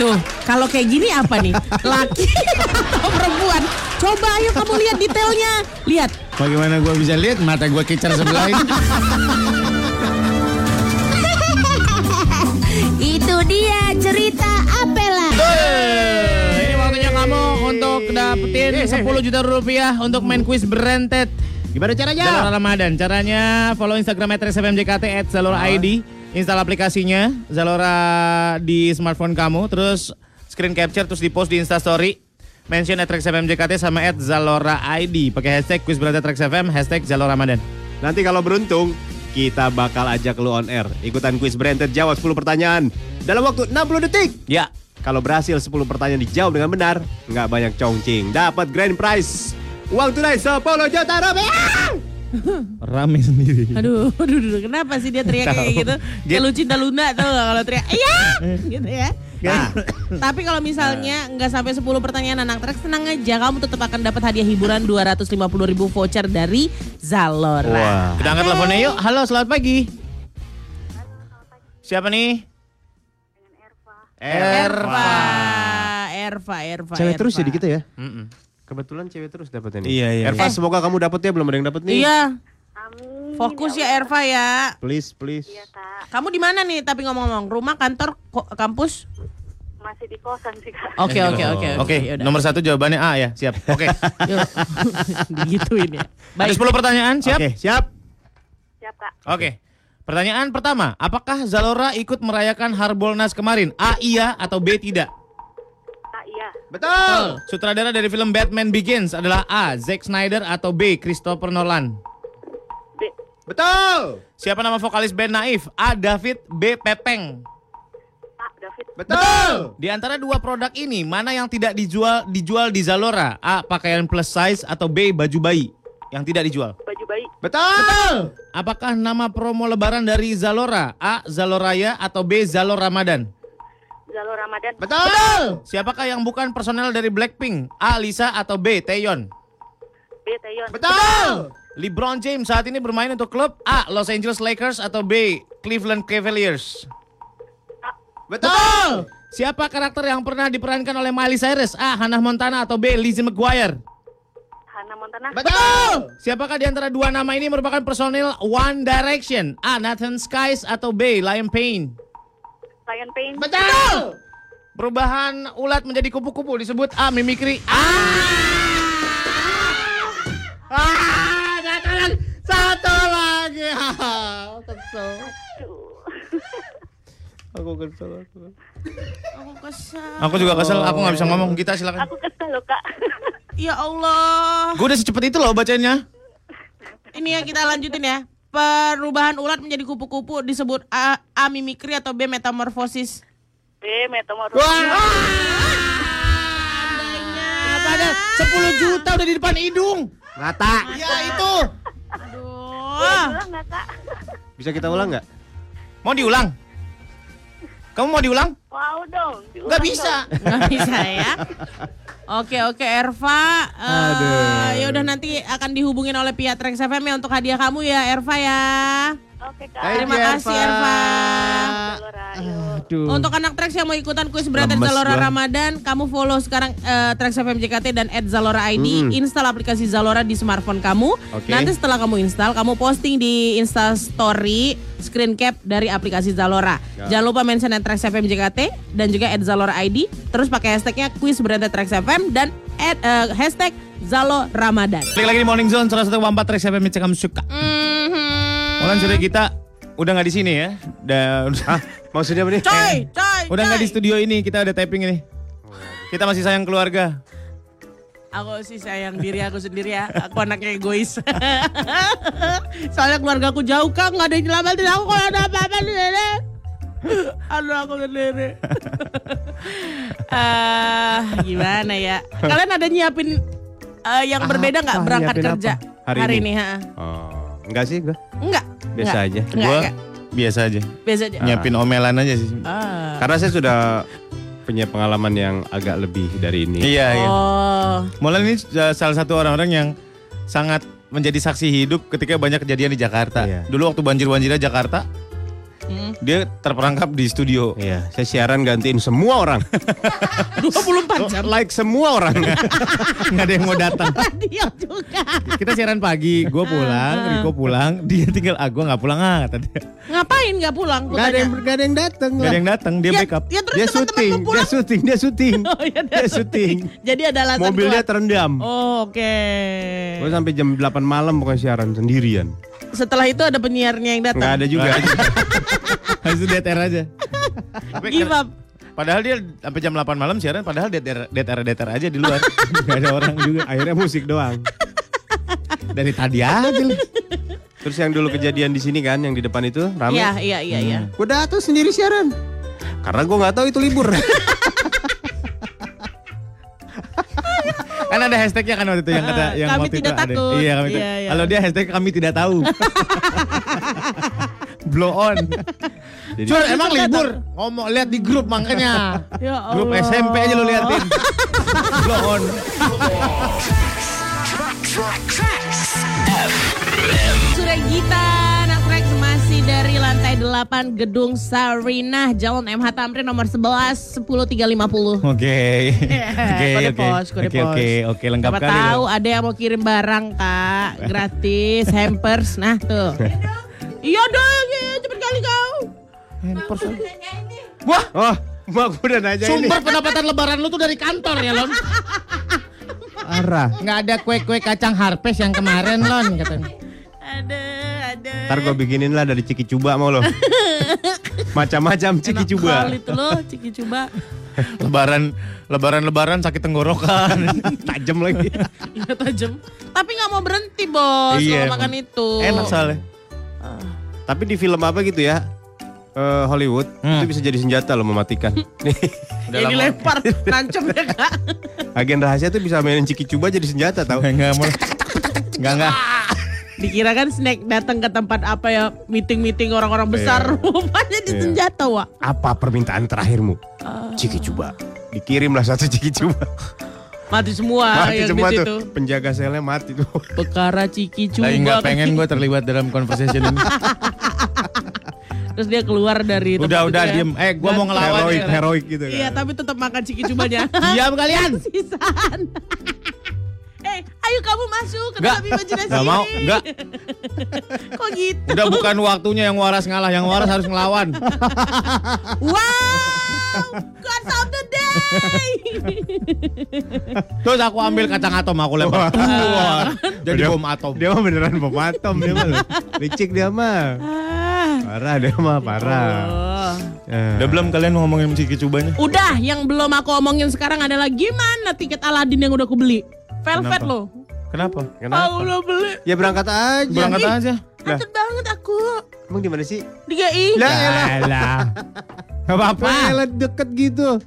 Speaker 3: Tuh, kalau kayak gini apa nih? Laki atau perempuan? Coba ayo kamu lihat detailnya. Lihat.
Speaker 1: Bagaimana gua bisa lihat mata gua kicar sebelah ini?
Speaker 17: Itu dia cerita Apela.
Speaker 16: Ini waktunya kamu untuk dapetin 10 juta rupiah untuk main kuis berentet. Gimana caranya? Dalam Ramadan. Caranya follow Instagram @rsfmjkt @zalora_id, install aplikasinya Zalora di smartphone kamu, terus screen capture terus di-post di Insta Story. Mention @rxfmjkt sama @zalora_id pakai hashtag kuis berentet @rxfm hashtag Zalora Ramadan.
Speaker 2: Nanti kalau beruntung, kita bakal ajak lu on air. Ikutan kuis Branded jawab 10 pertanyaan dalam waktu 60 detik. Ya. Kalau berhasil 10 pertanyaan dijawab dengan benar, nggak banyak congcing. Dapat grand prize. Uang tunai 10 juta rupiah.
Speaker 14: Rame sendiri.
Speaker 3: Aduh, aduh, aduh, kenapa sih dia teriak kayak gitu? Kayak lu cinta Luna tau gak kalau teriak, iya, gitu ya. Nah, tapi kalau misalnya nggak sampai 10 pertanyaan anak trek, tenang aja, kamu tetap akan dapat hadiah hiburan 250.000 ribu voucher dari Zalora.
Speaker 16: Kita angkat teleponnya yuk. Halo, selamat pagi. Siapa nih?
Speaker 3: Erva, Erva, Erva. Erva.
Speaker 2: ya? Kebetulan cewek terus dapat ini.
Speaker 14: Iya, iya.
Speaker 2: ya, Erva, semoga kamu dapetnya belum ada yang dapat nih.
Speaker 3: Iya. Fokus ya Erva ya.
Speaker 1: Please, please.
Speaker 3: Kamu di mana nih? Tapi ngomong-ngomong, rumah, kantor, ko- kampus?
Speaker 18: Masih di kosan sih kak.
Speaker 3: Oke, oke, oke.
Speaker 1: Oke,
Speaker 3: yaudah.
Speaker 1: nomor satu jawabannya A ya. Siap. Oke.
Speaker 3: Digituin ya.
Speaker 1: Ada 10 pertanyaan, siap?
Speaker 8: Oke,
Speaker 1: siap.
Speaker 18: Siap kak.
Speaker 1: Oke. Pertanyaan pertama, apakah Zalora ikut merayakan Harbolnas kemarin? A iya atau B tidak?
Speaker 18: Kak iya.
Speaker 1: Betul. Sutradara dari film Batman Begins adalah A. Zack Snyder atau B. Christopher Nolan.
Speaker 18: B.
Speaker 1: Betul. Siapa nama vokalis band Naif? A. David, B. Pepeng.
Speaker 18: Kak David.
Speaker 1: Betul. Di antara dua produk ini, mana yang tidak dijual dijual di Zalora? A. Pakaian plus size atau B. Baju bayi yang tidak dijual.
Speaker 18: Baju bayi.
Speaker 1: Betul. Apakah nama promo lebaran dari Zalora? A. Zaloraya atau B. Zalor Ramadan?
Speaker 18: Zalo Ramadan.
Speaker 1: Siapakah yang bukan personel dari Blackpink? A. Lisa atau B. Taeyeon?
Speaker 18: B. Taeyeon.
Speaker 1: LeBron James saat ini bermain untuk klub A. Los Angeles Lakers atau B. Cleveland Cavaliers? Betul. Siapa karakter yang pernah diperankan oleh Miley Cyrus? A. Hannah Montana atau B. Lizzie McGuire?
Speaker 18: Hannah Montana.
Speaker 1: Siapakah di antara dua nama ini merupakan personil One Direction? A. Nathan Skies atau B. Liam Payne?
Speaker 18: Lion Pain.
Speaker 1: Perubahan ulat menjadi kupu-kupu disebut A. Mimikri. A. Ah, katakan satu lagi.
Speaker 19: Aku kesel aku.
Speaker 3: Aku kesal.
Speaker 1: Aku juga kesel, aku nggak bisa ngomong. Kita silakan.
Speaker 18: Aku kesel loh kak.
Speaker 3: Ya Allah.
Speaker 1: Gue udah secepat itu loh bacainnya.
Speaker 3: Ini ya kita lanjutin ya. Perubahan ulat menjadi kupu-kupu disebut A, A mimikri atau B metamorfosis.
Speaker 18: B. Metamorfosis.
Speaker 1: Apanya? 10 Nah, juta udah di depan hidung. Mata. Ya itu.
Speaker 3: Oh,
Speaker 18: Pulang nggak kak?
Speaker 2: Bisa kita ulang nggak?
Speaker 1: Mau diulang? Kamu mau diulang?
Speaker 18: Wow dong. diulang
Speaker 1: Nggak bisa.
Speaker 18: dong.
Speaker 3: nggak bisa ya. Oke oke Erva, Eh, ya udah nanti akan dihubungin oleh pihak Trax FM ya untuk hadiah kamu ya Erva ya.
Speaker 18: Oke kak.
Speaker 3: Terima kasih Erva.
Speaker 8: Aduh.
Speaker 3: Untuk anak Trax yang mau ikutan kuis berantet
Speaker 8: Lemes
Speaker 3: Zalora
Speaker 8: gua.
Speaker 3: Ramadan, kamu follow sekarang eh, Trax FM JKT dan @zaloraid Zalora ID,
Speaker 8: Mm.
Speaker 3: install aplikasi Zalora di smartphone kamu.
Speaker 8: Oke.
Speaker 3: Nanti setelah kamu install, kamu posting di Insta Story screen cap dari aplikasi Zalora.
Speaker 8: Ya.
Speaker 3: Jangan lupa mention at Trax FM JKT dan juga @zaloraid Zalora ID, terus pakai hashtagnya kuis berantet Trax FM dan at, eh, hashtag Zalo Ramadan.
Speaker 1: Balik lagi di Morning Zone, salah satu empat track siapa yang kamu suka. Mulan sudah kita udah nggak di sini ya. Dan maksudnya apa nih?
Speaker 3: Coy,
Speaker 8: Eh,
Speaker 3: coy,
Speaker 1: Udah nggak
Speaker 3: coy.
Speaker 1: di studio ini, kita ada taping ini. Kita masih sayang keluarga.
Speaker 3: Aku sih sayang diri aku sendiri ya. Aku anaknya egois. Soalnya keluarga aku jauh kan nggak ada yang nyelamatin aku kalau ada apa-apa di sini. Aduh aku sendiri. Ah, gimana ya? Kalian ada nyiapin eh, yang berbeda nggak
Speaker 2: Apa?
Speaker 3: berangkat
Speaker 2: Nyiapin
Speaker 3: kerja
Speaker 2: apa? Hari ini?
Speaker 3: ha?
Speaker 2: Oh, enggak sih gua.
Speaker 3: Enggak.
Speaker 2: Biasa
Speaker 3: enggak.
Speaker 2: aja.
Speaker 3: Enggak,
Speaker 2: Gua-
Speaker 3: enggak.
Speaker 1: Biasa aja.
Speaker 3: ya? Biasa aja.
Speaker 1: Nyiapin omelan aja sih.
Speaker 3: Ah.
Speaker 2: Karena saya sudah punya pengalaman yang agak lebih dari ini.
Speaker 1: Iya, iya.
Speaker 3: Oh.
Speaker 1: Mulan ini uh, salah satu orang-orang yang sangat menjadi saksi hidup ketika banyak kejadian di Jakarta. Dulu waktu banjir-banjirnya Jakarta,
Speaker 3: Hmm.
Speaker 1: dia terperangkap di studio.
Speaker 2: Iya, saya siaran gantiin semua orang.
Speaker 3: 24 jam.
Speaker 2: Like semua orang.
Speaker 1: Nggak ada yang mau datang.
Speaker 3: Dia juga.
Speaker 1: Kita siaran pagi, gue pulang, Riko pulang, dia tinggal ah gue nggak pulang ah kata dia.
Speaker 3: Ngapain nggak pulang? Gua
Speaker 2: Gak ada
Speaker 3: tanya.
Speaker 2: yang gak ada yang datang
Speaker 1: Gak
Speaker 2: lah.
Speaker 1: ya? ada yang datang, dia
Speaker 3: Ya-
Speaker 1: backup.
Speaker 3: ya terus
Speaker 2: Dia
Speaker 3: teman-teman
Speaker 2: syuting,
Speaker 3: lu
Speaker 2: dia
Speaker 3: pulang.
Speaker 2: syuting, dia syuting.
Speaker 3: Oh, iya, dia
Speaker 2: Dia syuting.
Speaker 3: Jadi ada alasan
Speaker 2: Mobilnya
Speaker 3: keluar.
Speaker 2: terendam.
Speaker 3: Oh, iya. Oke.
Speaker 2: Gue sampai jam 8 malam pokoknya siaran sendirian.
Speaker 3: Setelah itu ada penyiarnya yang datang.
Speaker 2: Enggak ada juga.
Speaker 1: Habis itu dead air aja. Tapi
Speaker 3: Give up.
Speaker 1: Padahal dia sampai jam 8 malam siaran, padahal dead air, dead air, dead air aja di luar. Gak ada orang juga.
Speaker 2: Akhirnya musik doang.
Speaker 1: Dari tadi aja. lah.
Speaker 2: Terus yang dulu kejadian di sini kan yang di depan itu rame.
Speaker 3: Iya, iya, iya, iya.
Speaker 2: Gue datang sendiri siaran. Karena gue nggak tahu itu libur.
Speaker 1: Kan ada hashtagnya kan waktu itu yang kata
Speaker 3: Ah,
Speaker 1: yang
Speaker 3: kami
Speaker 1: waktu
Speaker 3: tidak
Speaker 1: itu ada.
Speaker 3: takut.
Speaker 1: Iya, kami
Speaker 3: Iya,
Speaker 1: tidak.
Speaker 3: iya.
Speaker 1: Kalau dia hashtag kami tidak tahu. Blow on.
Speaker 2: Jadi-
Speaker 1: Cur, emang libur. Ngomong lihat di grup makanya.
Speaker 3: Ya Allah.
Speaker 1: Grup SMP aja lo liatin. Blow on.
Speaker 11: Tracks.
Speaker 3: Sure Gita, anak Rex masih
Speaker 7: dari lantai 8 gedung Sarinah Jalan MH Tamrin nomor 11
Speaker 1: Oke.
Speaker 7: 10350.
Speaker 1: Oke,
Speaker 7: kode
Speaker 1: oke.
Speaker 7: pos, kode
Speaker 1: Oke,
Speaker 7: pos.
Speaker 1: oke, oke, lengkap
Speaker 7: Siapa
Speaker 1: kali.
Speaker 2: ya.
Speaker 1: loh.
Speaker 7: tahu ada yang mau kirim barang kak gratis hampers nah tuh. Iya dong, iya, cepet kali kau.
Speaker 8: Hampers.
Speaker 1: Wah. Oh, mak gue udah nanya
Speaker 8: Sumber pendapatan lebaran lu tuh dari kantor ya, Lon.
Speaker 1: Arah.
Speaker 8: Nggak ada kue-kue kacang harpes yang kemarin, Lon, katanya.
Speaker 2: Ntar gue bikinin lah dari Ciki Cuba mau lo. Macam-macam Ciki Cuba.
Speaker 3: Kali itu loh, Ciki coba.
Speaker 1: Lebaran, lebaran, lebaran sakit tenggorokan.
Speaker 2: Tajam lagi.
Speaker 3: Iya tajam. Tapi nggak mau berhenti bos
Speaker 2: Iya,
Speaker 3: kalau makan
Speaker 2: emang.
Speaker 3: itu.
Speaker 2: Enak soalnya. Tapi di film apa gitu ya? eh, Hollywood itu bisa jadi senjata lo mematikan. Nih,
Speaker 3: Ya dilempar, nancep ya kak.
Speaker 2: agen rahasia tuh bisa mainin Ciki Cuba jadi senjata tau?
Speaker 1: Enggak mau.
Speaker 2: Enggak enggak.
Speaker 3: Dikira kan snack datang ke tempat apa ya meeting-meeting orang-orang
Speaker 2: Iya.
Speaker 3: besar. Rupanya di
Speaker 2: Iya.
Speaker 3: senjata wak.
Speaker 2: Apa permintaan terakhirmu?
Speaker 1: Ah.
Speaker 2: Ciki Cuba. Dikirimlah satu Ciki Cuba.
Speaker 1: Ah,
Speaker 3: Mati semua ya,
Speaker 2: mati
Speaker 1: iya,
Speaker 3: yang
Speaker 2: semua
Speaker 3: di
Speaker 1: gitu,
Speaker 2: tuh.
Speaker 3: situ.
Speaker 2: Penjaga selnya mati tuh.
Speaker 3: Perkara Ciki Cuba.
Speaker 1: Lagi nggak pengen gue terlibat dalam conversation ini.
Speaker 3: Terus dia keluar dari tempat
Speaker 1: Udah,
Speaker 3: itu
Speaker 1: udah,
Speaker 3: ya.
Speaker 1: diem. Eh, gua
Speaker 3: Dan-
Speaker 1: mau ngelawan. Iya.
Speaker 2: Heroik,
Speaker 1: ya.
Speaker 2: heroik gitu kan.
Speaker 3: Iya, tapi tetap makan ciki cubanya.
Speaker 8: Diam kalian.
Speaker 3: Sisaan. eh, ayo kamu masuk ke
Speaker 1: Nggak.
Speaker 3: dalam imajinasi
Speaker 1: Nggak mau,
Speaker 3: ini.
Speaker 1: nggak.
Speaker 3: Kok gitu?
Speaker 1: Udah bukan waktunya yang waras ngalah, yang waras harus ngelawan.
Speaker 3: Wow, gods of the day.
Speaker 1: Terus aku ambil kacang atom aku lempar. Wah, Jadi bom atom.
Speaker 2: Dia mah beneran bom atom dia mah. lo. Licik dia mah. Parah dia mah parah.
Speaker 1: Oh.
Speaker 3: Oh.
Speaker 2: Eh.
Speaker 1: Udah belum kalian mau ngomongin Ciki Cubanya?
Speaker 3: Udah, yang belum aku omongin sekarang adalah gimana tiket Aladin yang udah aku beli. Velvet
Speaker 1: Kenapa?
Speaker 3: loh.
Speaker 1: Kenapa?
Speaker 3: Aku udah beli.
Speaker 2: Ya berangkat aja.
Speaker 1: Berangkat
Speaker 2: Ih,
Speaker 1: aja.
Speaker 2: Lah,
Speaker 3: Takut banget aku.
Speaker 2: emang di mana sih?
Speaker 3: Di GI.
Speaker 2: Lah, elah.
Speaker 1: Alah.
Speaker 2: Gak apa-apa. Elah, deket gitu.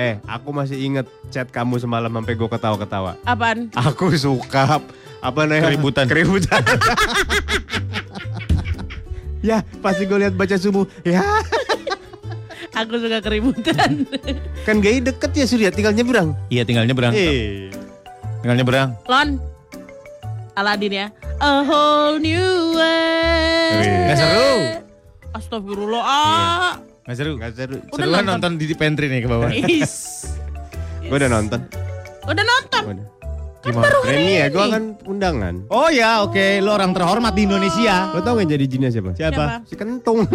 Speaker 2: Eh, aku masih inget chat kamu semalam sampai gue ketawa-ketawa.
Speaker 3: Apaan?
Speaker 2: Aku suka apa namanya?
Speaker 1: Keributan.
Speaker 2: Keributan. ya, pasti gue lihat baca subuh. Ya,
Speaker 3: Aku suka keributan.
Speaker 2: kan gay deket ya Surya, tinggal nyebrang.
Speaker 1: Iya, tinggal nyebrang.
Speaker 2: Eh,
Speaker 1: Tinggal nyebrang.
Speaker 3: Lon. Aladin ya. A whole new world.
Speaker 1: Nggak Eh, seru.
Speaker 3: Astagfirullah. Ah.
Speaker 1: Nggak seru.
Speaker 2: nggak seru.
Speaker 3: Udah
Speaker 1: Seruan
Speaker 3: nonton.
Speaker 1: nonton di pantry nih ke bawah.
Speaker 3: Is.
Speaker 2: Gue udah nonton.
Speaker 3: Udah nonton.
Speaker 2: Udah. Gimana? Reni ya, gue kan undangan.
Speaker 1: Oh ya, oke. Lo orang terhormat di Indonesia.
Speaker 2: Lo tau gak jadi jinnya siapa?
Speaker 1: Siapa?
Speaker 2: Si Kentung.